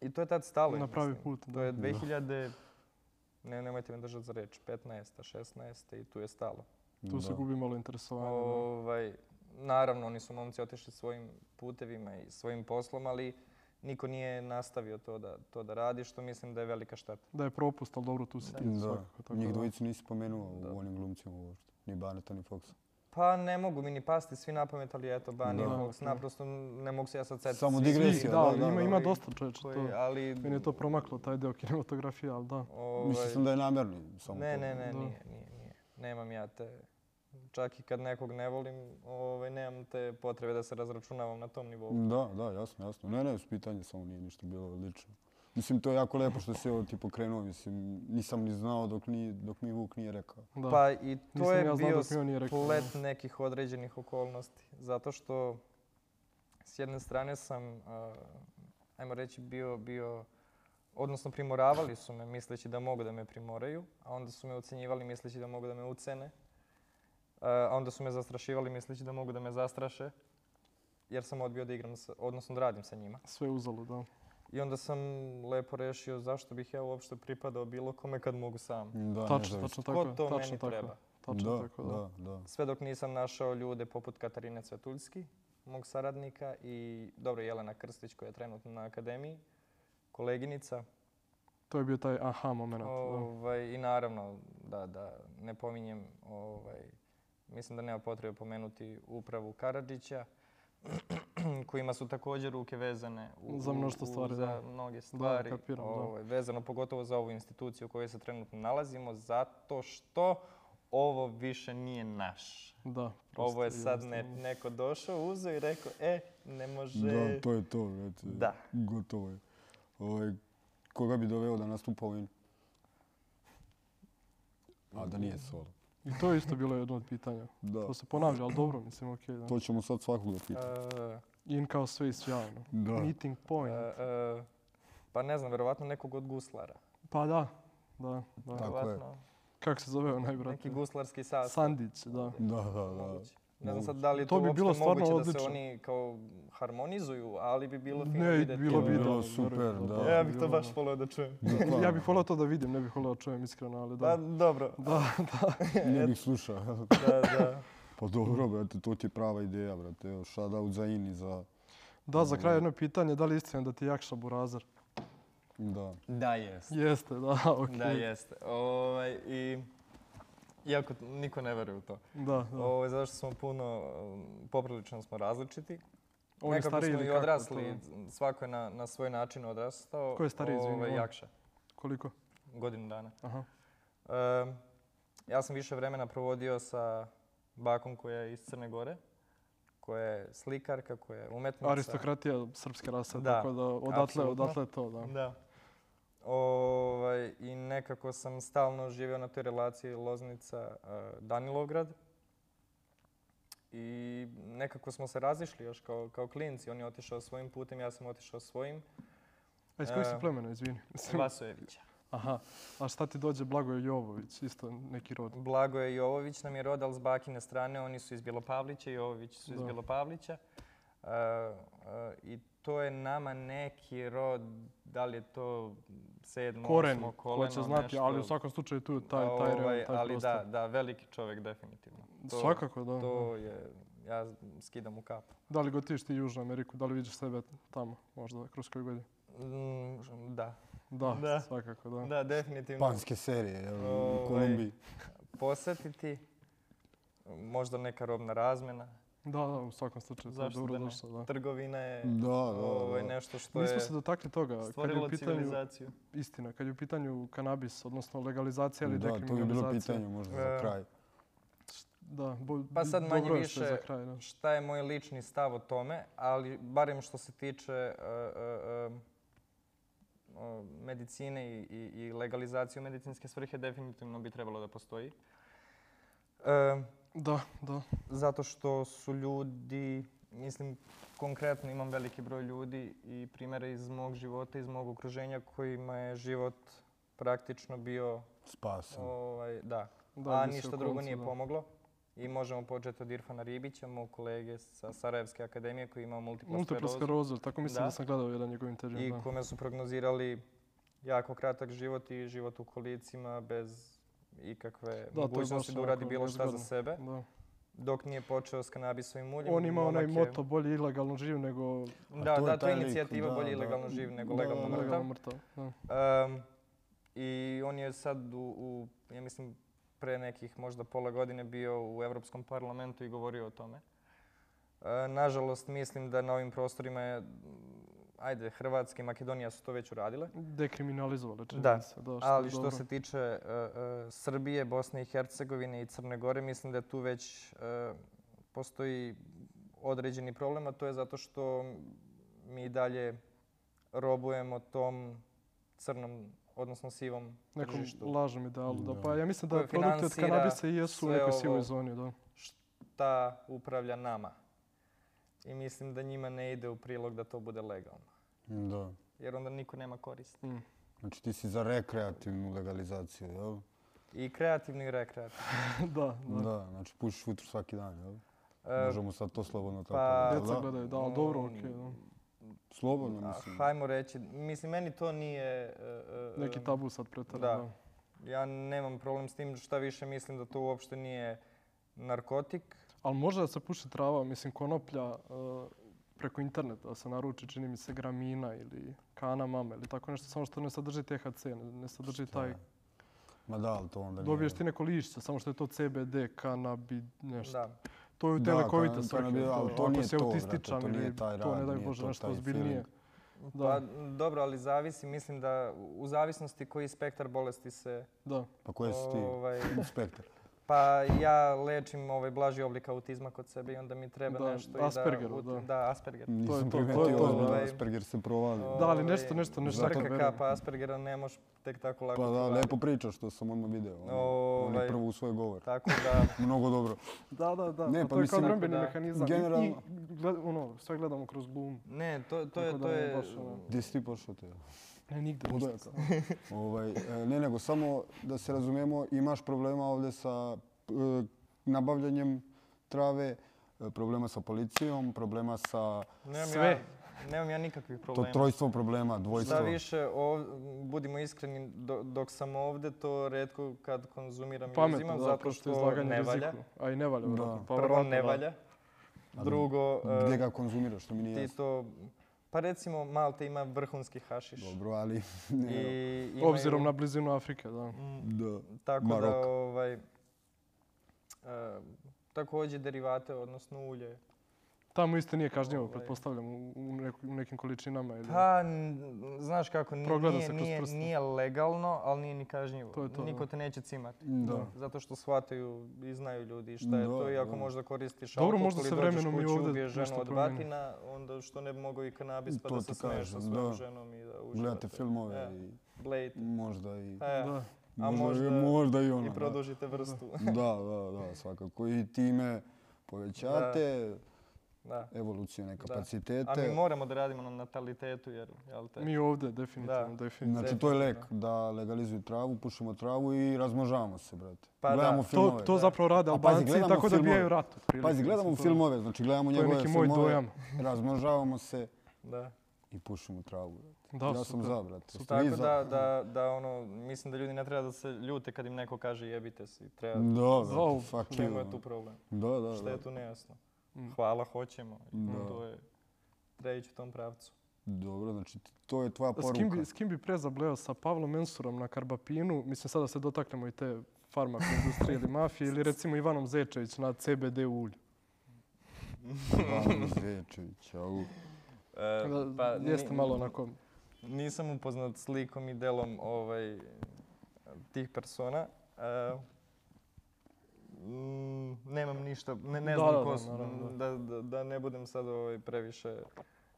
I to je tad stalo.
Da?
ja
Na pravi
mislim.
put. Da.
To je 2000, ne, nemojte me držati za reč, 15. 16. i tu je stalo.
Tu se
Da.
gubi malo interesovanje. da.
Ovaj, naravno, oni su momci otišli svojim putevima i svojim poslom, ali niko nije nastavio to da, to da radi, što mislim da je velika šteta.
Da je propust, ali dobro, tu si ti
Da,
svakako. Tako
njih
da.
dvojicu nisi pomenuo
Da.
u onim glumcima uopšte. Ni Baneta, ni Foxa.
Pa ne mogu mi ni pasti svi na pamet, ali eto, Bani,
Da.
Fox, naprosto ne mogu se ja sad setiti.
Samo
svih
digresija,
koji-
Da,
da,
ima,
da,
ima
koji-
dosta čovječe. Znači To,
koji- ali,
meni je to promaklo, taj deo kinematografije, ali da.
Ovaj,
Mislio sam da je namerni samo
Ne,
to.
ne, ne,
Da.
nije, nije, nije. Nemam ja te... Čak i kad nekog ne volim, ovaj, nemam te potrebe da se razračunavam na tom nivou.
Da, da, jasno, jasno. Ne, ne, s pitanje samo nije ništa bilo lično. Mislim, to je jako lepo što si ovo ti pokrenuo, mislim, nisam ni znao dok, ni, dok mi Vuk nije rekao.
da.
Pa i to
Nisam
je
ja znao
bio
dok mi on nije rekao,
splet nekih određenih okolnosti. Zato što s jedne strane sam, uh, ajmo reći, bio, bio odnosno primoravali su me misleći da mogu da me primoraju, a onda su me ucenjivali misleći da mogu da me ucene, Uh, a onda su me zastrašivali misleći da mogu da me zastraše, jer sam odbio da igram, sa, odnosno da radim sa njima.
sve uzalo, da.
I onda sam lepo rešio zašto bih ja uopšte pripadao bilo kome kad mogu sam.
Da,
Tačno,
nezavisno.
tačno
Ko
tako. je,
to
tačno
meni
tako je,
treba?
Tačno tako, da.
da, da.
Sve dok nisam našao ljude poput Katarine Cvetuljski, mog saradnika i dobro Jelena Krstić koja je trenutno na akademiji, koleginica.
To je bio taj aha moment. da.
Ovaj, I naravno, da, da ne pominjem, ovaj, mislim da nema potrebe pomenuti upravu Karadžića, kojima su također ruke vezane
Za mnoštvo stvari,
za
da.
mnoge stvari,
kapiram, da.
ovaj, vezano pogotovo za ovu instituciju u kojoj se trenutno nalazimo, zato što ovo više nije naš.
da
Ovo je
prosto,
sad ne,
jednostavno.
neko došao, uzeo i rekao, e, ne može...
Da, to je to, brate.
Da.
Gotovo je. Ovaj, koga bi doveo da nastupa ovim? A da nije solo.
I to je isto bilo jedno od pitanja.
Da.
To se ponavlja, ali dobro, mislim, okej. da.
To ćemo sad svakoga
E,
pitati.
In kao sve i sjajno.
Da.
Meeting point.
e, e, Pa ne znam, verovatno nekog od guslara.
Pa da, da, da.
Tako je.
Verovatno.
Kako se zove onaj
Neki
brate?
guslarski sastav.
Sandić, da.
Da, da, da.
Moguće. Ne znam sad da li je
To
to,
bi bilo
uopšte
stvarno
moguće da se
odlično.
oni kao harmonizuju, ali bi bilo fino
Ne,
vidjeti.
bilo bi
Bilo
idealno,
super,
verujem,
da.
Ja bih to
bilo ono-
baš volio da čujem.
Ja bih volao to da vidim, ne bih volao da čujem iskreno, ali
Pa
da.
dobro,
Da, da.
Ne bih slušao.
da, da.
Pa dobro, brate, to ti je prava ideja, brate. Evo, shoutout za Ini, za...
Da, za kraj jedno pitanje, da li je istina da ti je Jakša Burazer?
Da.
Da, jest.
Jeste, da, okej.
Da,
Da,
jeste. Ovaj, i, iako niko ne veruje u to.
da,
Ovaj, zato što smo puno, um, poprilično smo različiti.
On je
Nekako
stariji
smo
ili
i
kako?
odrasli,
To-
svako je na, na svoj način odrastao.
Ko je stariji, izvini,
Ovaj,
on?
Jakša,
Koliko?
godinu dana.
Aha.
Um, ja sam više vremena provodio sa bakom koja je iz Crne Gore, koja je slikarka, koja je umetnica.
Aristokratija srpske rase,
Da,
tako da odatle,
apsolutno.
odatle to, da.
Da.
Ovaj, I nekako sam stalno živio na toj relaciji e, Loznica-Danilovgrad. I nekako smo se razišli još kao, kao klinci. On je otišao svojim putem, ja sam otišao svojim.
A iz kojeg si
E,
plemena, izvini? Mislim,
Vasojevića.
Aha, a šta ti dođe Blagoje Jovović, isto neki rod.
Blago je Jovović nam je rod, ali s bakine strane. Oni su iz Bjelopavlića, Jovović su iz
Da.
Bjelopavlića. E, e, I to je nama neki rod, da li je to sedmo,
Koren,
osmo koleno,
ko će znati,
nešto.
ali u svakom slučaju tu je taj, taj,
Ovaj,
ovaj, taj
ali
prostor.
da, da, veliki čovjek definitivno. To-
Svakako, da.
To je, ja skidam u kapu.
Da li gotiš ti Južnu Ameriku, da li vidiš sebe tamo, možda, kroz koju godinu?
Mm, Da,
Da,
Da.
svakako, da.
da, definitivno.
Panske serije, jel, u
Ovaj.
Kolumbiji.
Posetiti, možda neka robna razmena.
Da, da, u svakom slučaju, to je
Zašto da
dobro
ne?
došlo, da.
Trgovina je
Da, da,
ovaj,
da.
nešto što
Mi smo
je...
Mm. se dotakli toga, kad je
Stvorilo
u pitanju,
civilizaciju.
istina, kad je u pitanju kanabis, odnosno legalizacija ili
Da, to bi bilo
dekriminalizacija.
pitanje možda
E,
za kraj.
Da, bo,
Pa sad manje
dobro je što je
više-
za kraj, da.
šta je moj lični stav o tome, ali barem što se tiče e, e, e, o, medicine i, i, i legalizacije u medicinske svrhe, definitivno bi trebalo da postoji. E,
Da, da,
zato što su ljudi, mislim, konkretno imam veliki broj ljudi i primjere iz mog života, iz mog okruženja kojima je život praktično bio,
Spasan.
ovaj, da,
da.
a
misli o
ništa drugo
koncu,
nije
da.
pomoglo. I možemo početi od Irfana Ribića, mog kolege sa Sarajevske akademije koji ima multiplu
Multipla
sklerozu
skleroza, tako mislim da.
Da.
sam gledao jedan njegov intervju.
i
da.
kome su prognozirali jako kratak život i život u kolicima bez ikakve
to je
mogućnosti
baš
da uradi
onako
bilo šta za
nezgodno.
sebe,
Da.
dok nije počeo s kanabisovim uljem.
On ima onaj
momak je-
moto bolje ilegalno živ nego
A
Da,
to je
da, to
taj
je
lik,
inicijativa
da,
bolje
da.
ilegalno živ nego
Da,
legalno
da,
mrtav.
legalno mrtav. Da.
Um, I on je sad u, u, ja mislim, pre nekih možda pola godine bio u Evropskom parlamentu i govorio o tome. E, nažalost, mislim da na ovim prostorima je, mm, ajde, Hrvatska i Makedonija su to već uradile.
Dekriminalizovali, čini
Da,
mi se. Da, je
Ali što
dobro.
se tiče e, e, Srbije, Bosne i Hercegovine i Crne Gore, mislim da tu već e, postoji određeni problem, a to je zato što mi i dalje robujemo tom crnom, odnosno sivom
Nekom
tržištu.
lažnom idealu. Da.
Da.
Pa ja mislim da
Koje
produkti od
finansira
kanabisa i jesu u
sve
nekoj
ovo.
sivoj zoni. Da.
Ta upravlja nama. I mislim da njima ne ide u prilog da to bude legalno.
Da.
Jer onda niko nema koristi.
Mm.
Znači ti si za rekreativnu legalizaciju, jel?
I kreativno i rekreativno.
da, da.
Da, znači pušiš futru svaki dan, jel?
E,
Možemo sad to slobodno tako
pa-
reći,
Djeca
jel
gledaju, da, ali dobro,
Mm,
okej. da.
Slobodno,
a,
mislim.
Hajmo reći, mislim, meni to nije... e, e,
Neki
e,
tabu sad pretara.
da.
Da.
Ja nemam problem s tim, šta više mislim da to uopšte nije narkotik.
Ali može da se puši trava, mislim, konoplja e, preko interneta, da se naruči, čini mi se, gramina ili kana mame ili tako nešto, samo što ne sadrži THC, ne, ne sadrži
Šta
taj...
je? Ma da, ali to onda nije...
Dobiješ ti neko lišće, samo što je to CBD, kanabid, nešto.
Da.
To je u te
Da,
lekovite
kanabid,
svrhe.
kanabid, ali to
ako
nije
si
to,
autističan
brate, to
ili
nije taj
to, ne
rad,
daj
nije
Bože,
to
nešto
taj
ozbiljnije.
feeling.
Da.
Pa dobro, ali zavisi, mislim da u zavisnosti koji spektar bolesti se...
Da.
Pa koje si ti?
ovaj,
Spektar.
Pa ja lečim ovaj blaži oblik autizma kod sebe i onda mi treba
Da,
nešto
Aspergerov,
i da...
da.
ut- Da, Asperger.
to,
Nisam
to je
primetio
to,
ozbiljno,
ovaj.
Asperger se provali.
Da, ali nešto,
Ovaj,
nešto, nešto.
Zato-
tako
Brka
verujem.
kapa Aspergera ne možeš tek tako lako
Pa da,
proraditi.
lepo pričaš, to sam odmah video. On, on je
Ovaj.
prvo u svoj govor.
Tako da,
Mnogo dobro.
Da, da, da.
Ne,
pa
pa
to je kao
mislim-
obrambeni
Tako da,
mehanizam. I- I,
generalno-
gled, ono, sve gledamo kroz glumu.
ne, to, to je,
Tako da
to
mi je
je
baš ono-
Gdje si ti pošao te?
Ne, nigde.
Ludac.
ništa.
Ovaj, e, ne, nego samo da se razumemo, imaš problema ovdje sa e, nabavljanjem trave, e, problema sa policijom, problema sa
Nemam
Sve.
Ja, nemam ja nikakvih
to
problema.
trojstvo problema,
Šta
dvojstvo.
više, ov, budimo iskreni, do, dok sam ovde, to redko kad konzumiram i
Pametno,
uzimam,
da,
zato
pošto je
što
izlaganje
ne valja.
riziku. A i ne valja,
Da.
vjerojatno. Pa
Prvo,
verovatno
ne
da.
valja.
A
Drugo, e,
Gdje ga konzumiraš, što mi nije
ti
jasno.
to... Pa recimo, Malta ima vrhunski hašiš.
Dobro, ali... Ne,
I imaju-
Obzirom na blizinu Afrike, da.
Mm,
da.
Tako da,
Maroko.
ovaj, e, također derivate, odnosno ulje.
Tamo isto nije kažnjivo,
Ovaj.
pretpostavljam, u, u nek- u nekim količinama. Ili...
Pa, n- znaš kako, n-
Progleda
nije,
se kroz
nije,
prste.
nije legalno, ali nije ni kažnjivo.
To je to, da.
Niko te neće cimati.
Da.
Zato što shvataju i znaju ljudi šta je
Da,
to i ako
da.
možda koristiš
Dobro,
alkohol
možda
ili
se
dođeš
vremenom i
kući
ovdje
ubiješ ženu
nešto
od
promijeni.
batina, onda što ne bi mogao i kanabis pa
To
da
ti
se smeješ sa
kažem,
svojom
da.
ženom i da uživate.
Gledate filmove
E,
i
Blade.
možda i...
E,
Da.
a
možda,
možda-
i, možda i ono.
I produžite vrstu.
Da, da, da, svakako. I time povećate
Da.
evolucijone
Da. A mi
kapacitete.
moramo da radimo na natalitetu jer, jel te?
Mi ovdje, definitivno, definitivno.
Znači, to je lek
definitivno.
da legalizuju travu, pušimo travu i razmnožavamo se, brate.
Pa da.
gledamo
To-
To,
filmove.
to zapravo rade
A pazi,
Albanci,
gledamo
tako da
filmove.
bijaju rat. otprilike,
Pazi, gledamo
mislim, to-
filmove, znači gledamo
To je
njegove
neki moj
filmove,
dojam.
razmnožavamo se
Da.
i pušimo travu. brate.
Da,
ja sam
super.
za, brate. Jeste vi
Tako
za?
da, da, da ono, mislim da ljudi ne treba da se ljute kad im neko kaže jebite se. Treba,
Da,
Za ovo,
brate, fuck
čemu je
you.
tu problem?
Mm, Da, da, da.
Šta je tu nejasno?
Mm.
Hvala, hoćemo.
Da.
To je, treba ići u tom pravcu.
Dobro, znači, to je tvoja
S kim,
poruka.
bi, s kim bi pre zableo? Sa Pavlom Mensurom na Karbapinu? Mislim, sada se dotaknemo i te farmako industrije ili mafije ili recimo Ivanom Zečević na CBD ulju.
Ivan Zečević, au.
E,
Da,
pa
jeste
ni-
malo onako...
Nisam upoznat slikom i delom ovaj, tih persona. E, mm, nemam ništa, ne,
Da,
ne znam
da,
ko
da,
su,
naravno,
da, da, da ne budem sad ovaj, previše,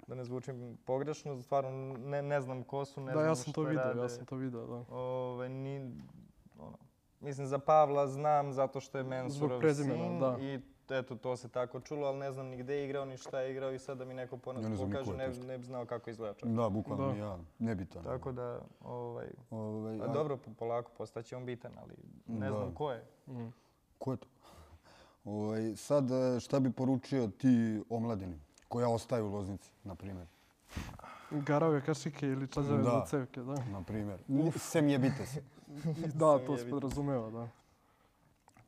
da ne zvučim pogrešno, stvarno ne, ne znam ko su,
da,
ne znam
ja sam
šta
to vidio,
rade.
ja sam to vidio, da.
Ove, ni, ono, mislim, za Pavla znam zato što je Mensurov
prezimena,
sin
da.
i eto, to se tako čulo, ali ne znam ni gde je igrao, ni šta je igrao i sad da mi neko pona-
Ja ne znam ni ko
pokaže,
je Mm.
ne,
to.
ne bi znao kako izgleda čovjek.
Da, bukvalno
Da.
ni ja. Nebitan.
Tako da, ovaj,
Ovaj,
a
a
dobro, po- polako postaće on bitan, ali ne
Da.
znam ko je.
Mm.
Ko je to? Ovaj, sad, e, šta bi poručio ti omladini koja ostaje u Loznici, na primjer?
Garave kašike ili čađave
Da.
za cevke, da.
Na primjer. Sem jebite se.
I
Sam
da, to
je
se
vidio.
podrazumeva, da.
Mm.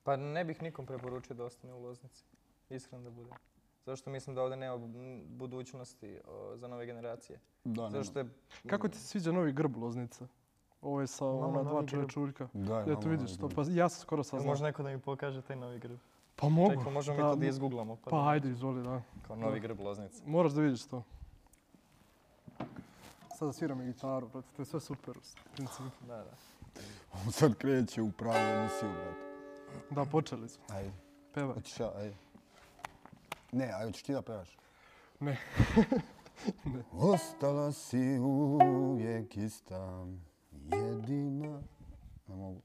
Pa ne bih nikom preporučio da ostane u Loznici, iskreno da bude. Zašto mislim da ovdje nema bu- budućnosti o, za nove generacije.
Da, ne.
Zašto je...
Kako ti se sviđa novi grb Loznice? Ovo je sa
Imamo
ona dva
novi grb.
čovječuljka.
Da,
Ja tu
imamo
vidiš to.
ovaj
Pa ja sam skoro saznao.
Može neko da mi pokaže taj novi grb.
Pa mogu.
Čekaj, možemo
Da,
mi to da
mo-
izgooglamo.
Pa
da-
ajde, izvoli, da.
Kao novi grb Loznice.
Moraš da vidiš to. Sada sviram i gitaru, brate, to je sve super. u principu.
Da, da.
pa-
grb. Sad kreće u pravu emisiju, brate.
Da, počeli smo.
Ajde,
Pevaj.
hoćeš ja, ajde. Ne, ajde, hoćeš ti da pevaš?
Ne. Ne.
Ostala si uvijek ista, jedina... Ne mogu.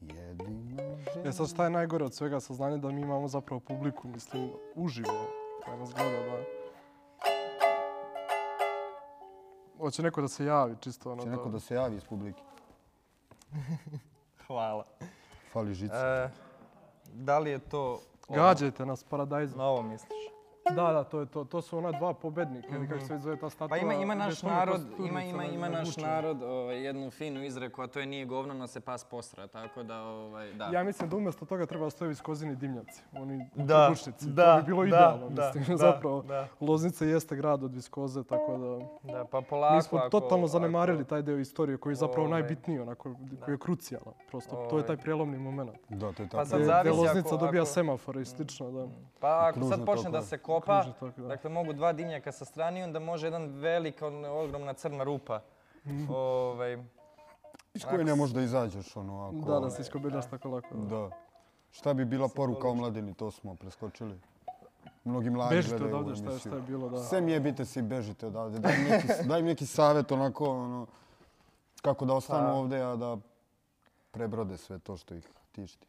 Jedina žena...
E sad šta je najgore od svega saznanje da mi imamo zapravo publiku, mislim, uživo koja nas gleda, da. Hoće neko da se javi čisto ono
Će neko da se javi iz publike.
Hvala.
Fali žica.
E, da li je to... ovo?
Gađajte nas, paradajz.
Novo misliš?
Da, da, to je to. To su ona dva pobednika, ili kako se već zove ta statua.
Pa ima, ima
gdje
naš
su ono kao
narod,
studnice
ima, ima,
na-
ima
na
naš
buču.
narod ovaj, jednu finu izreku, a to je nije govno, no se pas posra, tako da, ovaj, da.
Ja mislim da umjesto toga treba da stoje viskozini dimnjaci, oni
Da,
bučnici.
da,
to bi bilo
da,
idealno,
da, da,
mislim, zapravo.
da.
Loznica jeste grad od viskoze, tako da...
da, pa polako,
mi smo totalno
ako-
zanemarili taj deo istorije koji je zapravo
Ovaj.
najbitniji, onako, koji je krucijalan. Prosto, to je
Ovaj.
taj prijelomni moment.
Da, to je tako.
Pa sad
Gdje-
zavisi
Gdje Loznica
ako-
dobija
ako-
semafore i slično, da.
Pa ako
Kružno
sad počne
toko.
da se kopa,
Kružno toko, da.
dakle mogu dva dimnjaka sa strane i onda može jedan velika, on- ogromna crna rupa.
Mhm.
Ovaj,
Iz koje ne možeš da izađeš, ono, ako...
Da, da se iskobeljaš tako lako. da.
Da. Šta bi bila poruka o mladini, to smo preskočili. Mnogi mladi
Bežite
gledaju
odavde,
ovu
šta je,
emisiju.
šta je bilo, da.
Sem jebite se i bežite odavde. Daj im neki, daj im neki savjet onako, ono, kako da ostanu
Pa-
ovdje, a da prebrode sve to što ih tišti.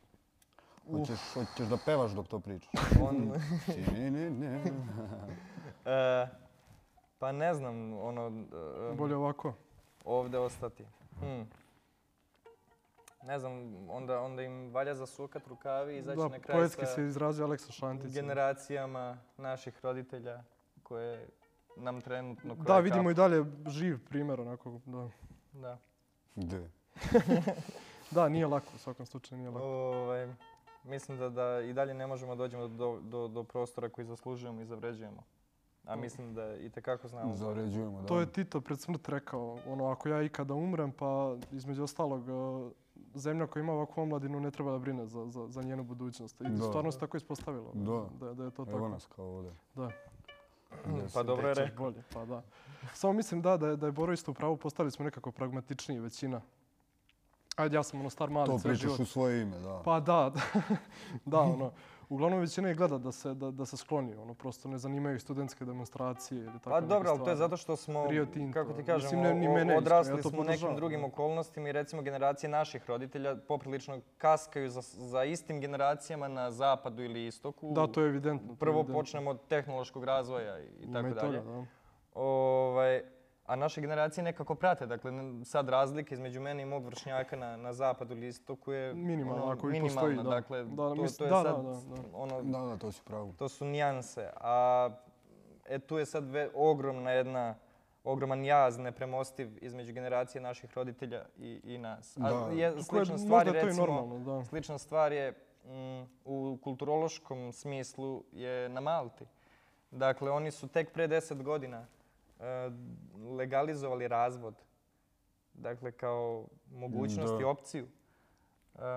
Hoćeš, hoćeš da pevaš dok to pričaš?
on,
Ti, ne, ne, ne.
e, pa ne znam, ono... e,
Bolje ovako.
ovdje ostati. Hm. Ne znam, onda, onda im valja zasukat rukavi i izaći
Da,
na kraj
poetski
sa
se izrazio Aleksa Šantić.
generacijama naših roditelja koje nam trenutno
Da,
kroje
vidimo i
kapu.
dalje živ primjer onako, da.
Da.
De.
Da, nije lako, u svakom slučaju nije lako.
Ovaj, mislim da, da i dalje ne možemo dođemo do, do, do prostora koji zaslužujemo i zavređujemo. A mislim da i tekako znamo. za-
Zaređujemo, da.
To je Tito pred smrt rekao, ono, ako ja ikada umrem, pa između ostalog, e, zemlja koja ima ovakvu omladinu ne treba da brine za, za, za njenu budućnost. I
Da.
stvarno se tako ispostavilo,
Da.
da, da je to
Evo
tako.
nas kao ovdje.
Da.
Gdje
Pa
se-
dobro je
Bit će
rekao.
Bolje, pa da. Samo mislim da, da je, da je Boro isto u pravu, postali smo nekako pragmatičniji većina. Ajde, ja sam ono star mali,
To
sve
pričaš
život.
u svoje ime, da.
Pa da, da, ono. Uglavnom većina je gleda da se, da, da se skloni, ono, prosto ne zanimaju ih studentske demonstracije ili tako
Pa
neke
dobro, ali to je
stvari.
zato što smo,
Rio Tinto.
kako ti
Mislim,
kažem,
ne- ni
o- o-
mene iskreno,
odrasli
ja to
smo u nekim
podržavam,
drugim
da.
okolnostima i recimo generacije naših roditelja poprilično kaskaju za, za istim generacijama na zapadu ili istoku.
Da, to je evidentno. to je
Prvo
evidentno.
počnemo od tehnološkog razvoja i, i
Ima
tako
i
dalje.
toga, da.
Ovaj, a naše generacije nekako prate. Dakle, n- sad razlike između mene i mog vršnjaka na, na zapadu ili istoku je
Minimalna,
ono,
ako i
minimalna.
postoji, da.
Dakle,
Da,
to,
mis-
to je
da, da,
sad
da, da.
ono
Da, da, to si u pravu.
to su nijanse. A e, tu je sad ve, ogromna jedna, ogroman jaz nepremostiv između generacije naših roditelja i, i nas. A
Da.
je,
Kako je-
slična stvar
možda
je
je to i
recimo,
normalno, da.
slična stvar je mm, u kulturološkom smislu je na Malti. Dakle, oni su tek pre 10 godina e, legalizovali razvod. Dakle, kao mogućnost
Da.
i opciju.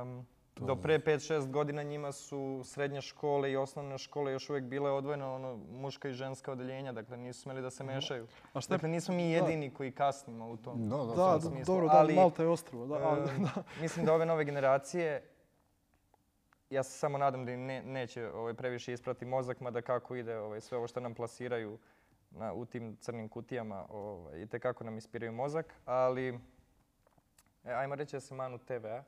Um,
To
do
je-
pre 5-6 godina njima su srednje škole i osnovne škole još uvijek bile odvojene ono, muška i ženska odeljenja, dakle nisu smeli da se mešaju.
A šta je
Dakle, nismo mi jedini koji kasnimo u tom.
Mhm. Da, da,
Da,
da,
d-
smislu,
dobro, da,
ali, e,
Malta je ostrvo.
E,
Da, ali,
Em, mislim da ove nove generacije, ja se samo nadam da im ne, neće ovaj, previše isprati mozak, mada kako ide ovaj, sve ovo što nam plasiraju na, u tim crnim kutijama ovaj, i tekako nam ispiraju mozak, ali e, ajmo reći da se manu TV-a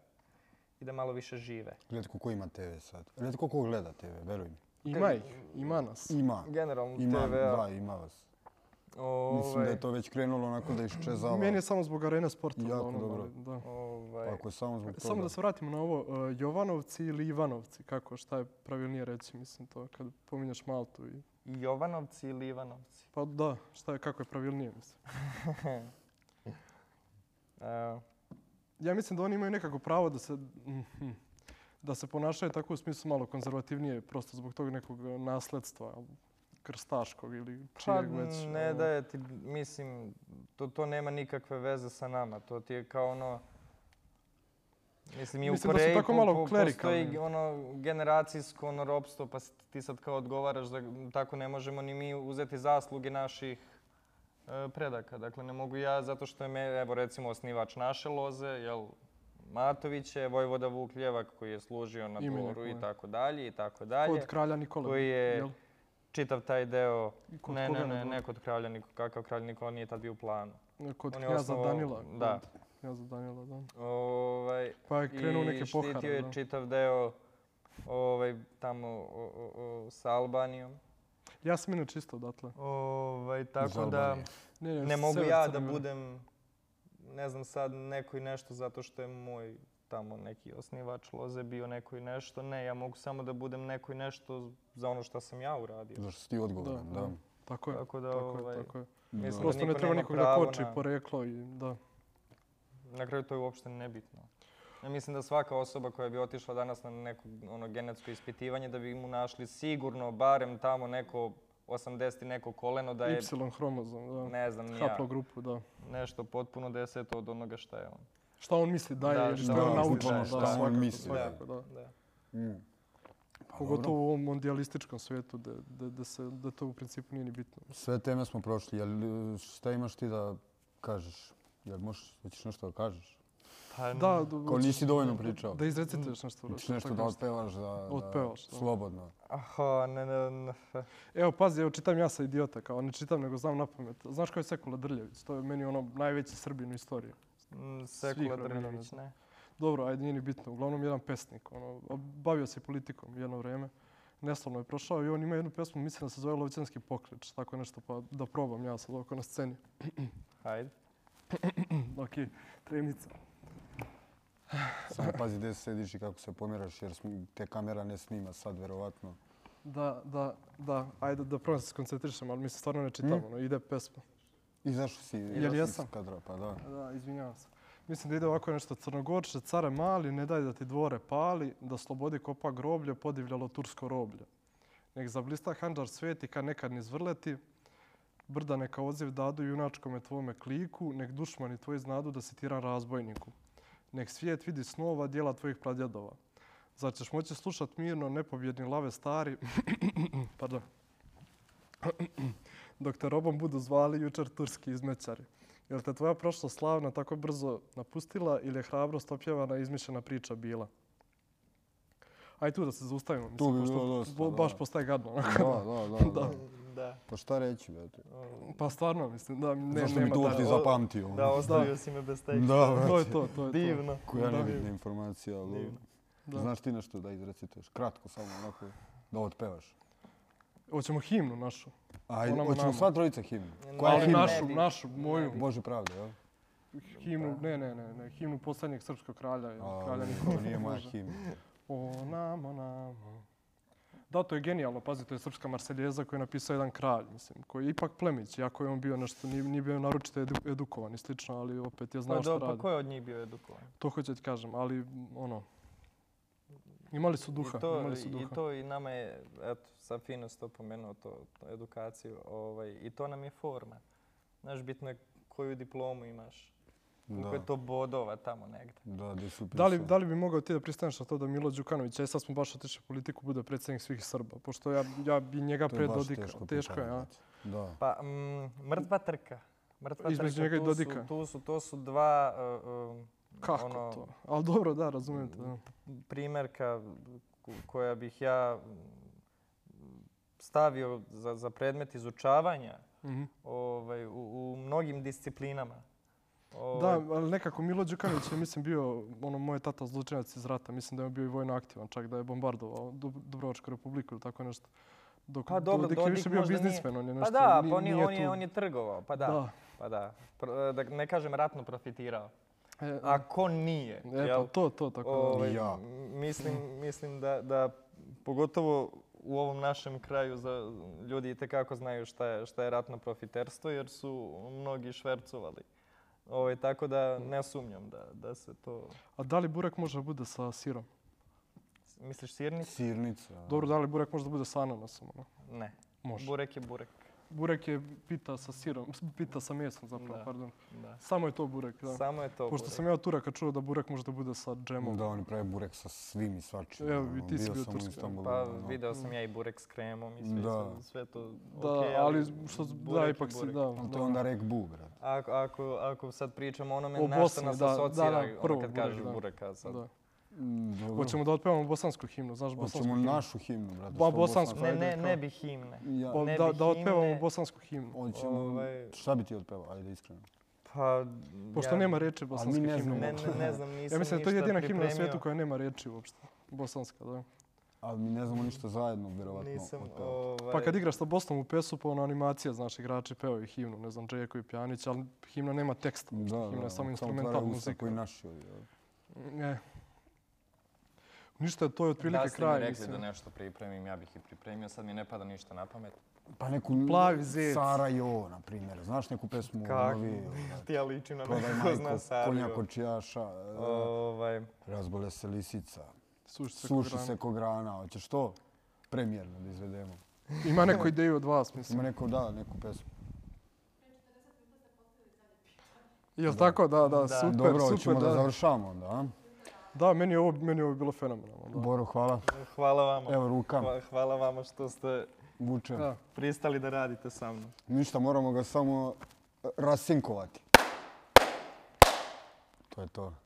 i da malo više žive.
Redko ko ima TV sad. Redko ko gleda TV, veruj mi.
ima ih, ima nas.
Ima.
Generalno
Ima,
TV-a.
da, ima vas. Mislim da
Ovaj,
je to već krenulo onako da iščezava.
Meni je samo zbog arena sporta.
ono. Jako
uglavnom,
dobro.
ali, Da. E,
ovaj,
Pa Ako je samo zbog toga.
Samo da se vratimo na ovo, uh, Jovanovci ili Ivanovci, kako, šta je pravilnije reći, mislim to, kad pominješ Maltu i...
Jovanovci ili Ivanovci?
Pa da, šta je, kako je pravilnije, mislim.
E,
Ja mislim da oni imaju nekako pravo da se, mhm, da se ponašaju tako u smislu malo konzervativnije, prosto zbog tog nekog e, nasledstva, jel, krstaškog ili
pa
čijeg već.
ne
ono.
da je ti, mislim, to, to nema nikakve veze sa nama. To ti je kao ono, Mislim, i u
Mislim da su
Koreji
tako
po-
malo
po-
klerikalni.
postoji ono, generacijsko ono, ropstvo, pa si- ti sad kao odgovaraš da tako ne možemo ni mi uzeti zasluge naših e, predaka. Dakle, ne mogu ja zato što je, me, evo recimo, osnivač naše loze, jel, Matović je, Vojvoda Vuk Ljevak koji je služio na
Imenjak,
Doru i
ovaj.
tako dalje i tako dalje.
Od kralja Nikola.
koji je-
jel?
čitav taj deo,
I kod
ne,
koga
ne,
na
ne,
Doru?
ne kod kralja Nikola, kakav kralj Nikola nije tad bio u planu.
Kod
on je
knjaza
osnovao-
Danila.
da.
Kod knjaza Danila, da.
Ovaj,
Pa je krenuo u
i
neke
štitio
pohare.
je
da.
čitav deo ovaj, tamo o, o, o, sa Albanijom.
Ja sam inače isto odatle.
Ovaj, tako
Za
da
Albaniju.
ne mogu ja da
budem
budem, ne znam sad, neko i nešto zato što je moj tamo neki osnivač loze bio neko i nešto. Ne, ja mogu samo da budem neko i nešto za ono što sam ja uradio.
Zašto si ti odgovoran,
Da,
da.
da. Tako je,
Tako da,
tako
ovaj,
je, tako je.
Da.
Mislim-
Prosto ne
niko
treba
nema
nikog da
pravo
koči
na-
poreklo i da.
Na kraju to je uopšte nebitno. Ja mislim da svaka osoba koja bi otišla danas na neko ono, genetsko ispitivanje, da bi mu našli sigurno barem tamo neko 80 i neko koleno da je,
Y hromozom, da.
ne znam, ni ja,
Haplogrupu, da.
nešto potpuno deseto od onoga šta je on.
Šta on misli da
Da,
je ili
šta
što je
on
on
misli
naučio.
da je,
Da,
šta on
svakako,
misli
da je.
svakako, da.
Da.
Mm. Pa dobro.
Pogotovo u ovom mondialističkom svijetu da, da, da, se, da to u principu nije ni bitno.
Sve teme smo prošli, jel e, šta imaš ti da kažeš? Jel možeš, hoćeš nešto da kažeš?
Da,
Pa,
da,
Kao nisi dovoljno pričao.
da izrecite još nešto.
Hoćeš nešto
tako
da otpevaš, da, da
Otpevaš, da.
slobodno.
Aha, ah, ne, ne, ne.
Evo, pazi, evo, čitam ja sa idiota, kao ne čitam, nego znam na pamet. Znaš ko je Sekula Drljević? To je meni ono najveći srbin u istoriji.
Mm,
Svih
Sekula
vremena, ne
Drljević,
znam.
ne.
Dobro, ajde, nije ni bitno. Uglavnom, jedan pesnik. Ono, a bavio se i politikom jedno vreme. Neslavno je prošao i on ima jednu pesmu, mislim da se zove Lovćanski poklič, tako nešto, pa da probam ja sad ovako na sceni.
Hajde.
ok, tremica.
Samo pazi gdje sediš i kako se pomjeraš jer sm- te kamera ne snima sad verovatno.
Da, da, da, ajde da prvo se skoncentrišem, ali mi se stvarno ne čitam, ono, ide pesma.
Izašao si
Jel
iz
jesam?
kadra, pa da.
Da, izvinjavam se. Mislim da ide ovako nešto crnogorče, care mali, ne daj da ti dvore pali, da slobodi kopa groblje, podivljalo tursko roblje. Nek zablista hanđar sveti, ka nekad niz vrleti, brda neka odziv dadu junačkome tvome kliku, nek dušmani tvoji znadu da si tiran razbojniku. Nek svijet vidi snova dijela tvojih pradjedova. Zar Znači, ćeš moći slušat mirno nepobjedni lave stari, pardon, dok te robom budu zvali jučer turski izmećari. Jel te tvoja prošlost slavna tako brzo napustila ili je hrabrost opjevana i izmišljena priča bila? Aj tu da se zaustavimo. Mislim,
bi
pošto
bilo dosta,
bo-
da.
Baš postaje gadno. onako.
Da, da, da. da.
Da.
Pa šta reći, brate?
Pa stvarno, mislim, da ne,
Zašto
nema
mi to uopšte
dalje.
za-
zapamtio? ono?
Da,
Da,
ostavio si me bez teksta.
brate.
To je to, to je to.
Divno.
Koja
Da.
nebitna informacija, ali... ono,
Divno.
Da.
Znaš ti nešto da izrecituješ? Kratko samo onako da otpevaš.
Hoćemo himnu našu.
Ajde,
Ona mu
hoćemo
nama.
sva trojica himnu.
Ne,
Koja
Ali
himna?
našu,
bi.
našu, moju.
Bože pravde, jel?
Himnu, ne, ne, ne, ne, himnu posljednjeg srpskog kralja. ili
A,
kralja
to
Nikole.
nije moja
Bože.
himna.
O nama, nama. Da, to je genijalno. Pazi, to je srpska marseljeza koju je napisao jedan kralj, mislim, koji je ipak plemić, iako je on bio nešto, nije, nije bio naročito edu, edukovan i slično, ali opet je znao
Pa
što
do, pa
radi.
ko je od njih bio edukovan?
To hoću ti kažem, ali m, ono, imali su duha,
I to,
imali su
I
duha.
to i nama je, eto, sad fino si to pomenuo, to, to edukaciju, ovaj, i to nam je forma. Znaš, bitno je koju diplomu imaš, koliko
Da,
je to bodova tamo negde.
da, gdje su
Da li,
pisali.
da li bi mogao ti da pristaneš na to da Milo Đukanović, aj sad smo baš otišli u politiku, bude predsjednik svih Srba, pošto ja, ja bi njega
To je
pre
baš
Dodika.
teško
teško je,
pitanje,
a?
brate. Da.
Pa, mm, mrtva trka. Mrtva
Između njega i
trka, tu su,
Dodika.
tu su, to su dva uh, um,
Kako
ono,
to? Ali dobro, da, razumijem te. da.
primjerka ko- koja bih ja mm, stavio za, za predmet izučavanja
Mhm.
ovaj, u, u mnogim disciplinama.
Da, ali nekako Milo Đukanović je, mislim, bio ono, moj tata zločinac iz rata. Mislim da je on bio i vojno aktivan, čak da je bombardovao Dub- Dubrovačku republiku ili tako nešto. Dok,
Pa dobro,
Dodik je
Dodik
više bio
možda nije-
biznismen, on je
Pa
nešto...
da,
ni-
pa on je,
nije
on, je,
tu-
on je trgovao, pa da,
da.
pa da. Pr- da ne kažem ratno profitirao.
E,
A ko nije?
e,
jel?
pa to, to, tako da.
Ovaj,
Ja.
m- Mislim, mislim da, da pogotovo u ovom našem kraju za ljudi itekako znaju šta je, šta je ratno profiterstvo jer su mnogi švercovali. Ovaj, tako da
Mm.
ne sumnjam da, da se to...
A da li Burek može da bude sa sirom?
Misliš sirnik?
Sirnica.
Dobro, da li Burek može da bude sa ananasom? Ono?
Ne.
Može.
Burek je burek.
Burek je pita sa sirom, s- pita sa mesom zapravo,
Da.
pardon.
Da.
Samo je to Burek, da.
Samo je to
Pošto
burek.
sam ja od Turaka čuo da Burek može da bude sa džemom.
Da, oni prave burek sa svim i svačim.
Evo,
ono,
i ti si bio
sam u
turski,
Istanbulu.
Pa
ono.
video sam ja i burek s kremom i sve,
Da.
sve, sve to
Da,
okej,
ali što, da,
burek je
ipak si,
burek.
da.
Ali To
da.
je onda rek bu, brate.
Ako, ako, ako sad pričamo o onome
O
na što
Bosni,
nas
da, da,
asocira
da,
ono
prvo
kad
burek,
kažeš
da.
burek, a sad...
Da.
Dobro.
Hoćemo da otpevamo bosansku himnu, znaš bosansku
Hoćemo
himnu?
našu himnu, brate.
Ba,
što
bosansku.
Ne,
Ajde,
ne,
kao-
ne bi himne.
Ja,
Pa,
ne
da,
bi
da otpevamo
himne.
bosansku himnu.
hoćemo,
ovaj-
šta bi ti otpevao? Ajde, iskreno.
Pa,
Pošto
ja-
nema reči bosanske
ne
himne.
znamo.
Ne,
uopšte.
ne, ne znam, nisam
ja mislim da je to jedina himna na svijetu
svijetu
koja nema reči uopšte. Bosanska, da.
Ali mi ne znamo ništa zajedno, vjerovatno.
Nisam,
otpevati.
ovaj...
Pa kad igraš sa Bosnom u pesu, pa ono animacija, znaš, igrači pevaju himnu, ne znam, Džeko i Pjanić, ali himna nema teksta. uopšte, himna je samo instrumental
otvaraju usta pa
muzika.
Koji naši ovi, jel?
E. Ništa, to je otprilike
da ste mi
kraj,
rekli da
mislim.
nešto pripremim, ja bih i pripremio, sad mi ne pada ništa na pamet.
Znači,
Pa neku
Plavi zec.
Sara Jo, na primjer. Znaš neku pesmu?
Kako?
Novi,
Ti ja ličim na
Prodaj
neko
majko,
zna Sariju.
konja kočijaša, e,
Ovaj,
razbole se lisica,
Suši se
suši
kograna.
se ko grana. Hoćeš to? Premijerno da izvedemo.
Ima neku ideju od vas, mislim.
Ima neko, da, neku pesmu.
Jel tako? Da, da,
Da.
super,
Dobro,
super.
hoćemo da.
Da, da,
završavamo onda, a?
meni je ovo, meni je ovo bilo fenomenalno. da.
Boro, hvala.
hvala vama.
Evo ruka,
Hva- Hvala vama što ste
vučem.
Da.
pristali da radite sa mnom.
Ništa, moramo ga samo eh, rasinkovati. To je to.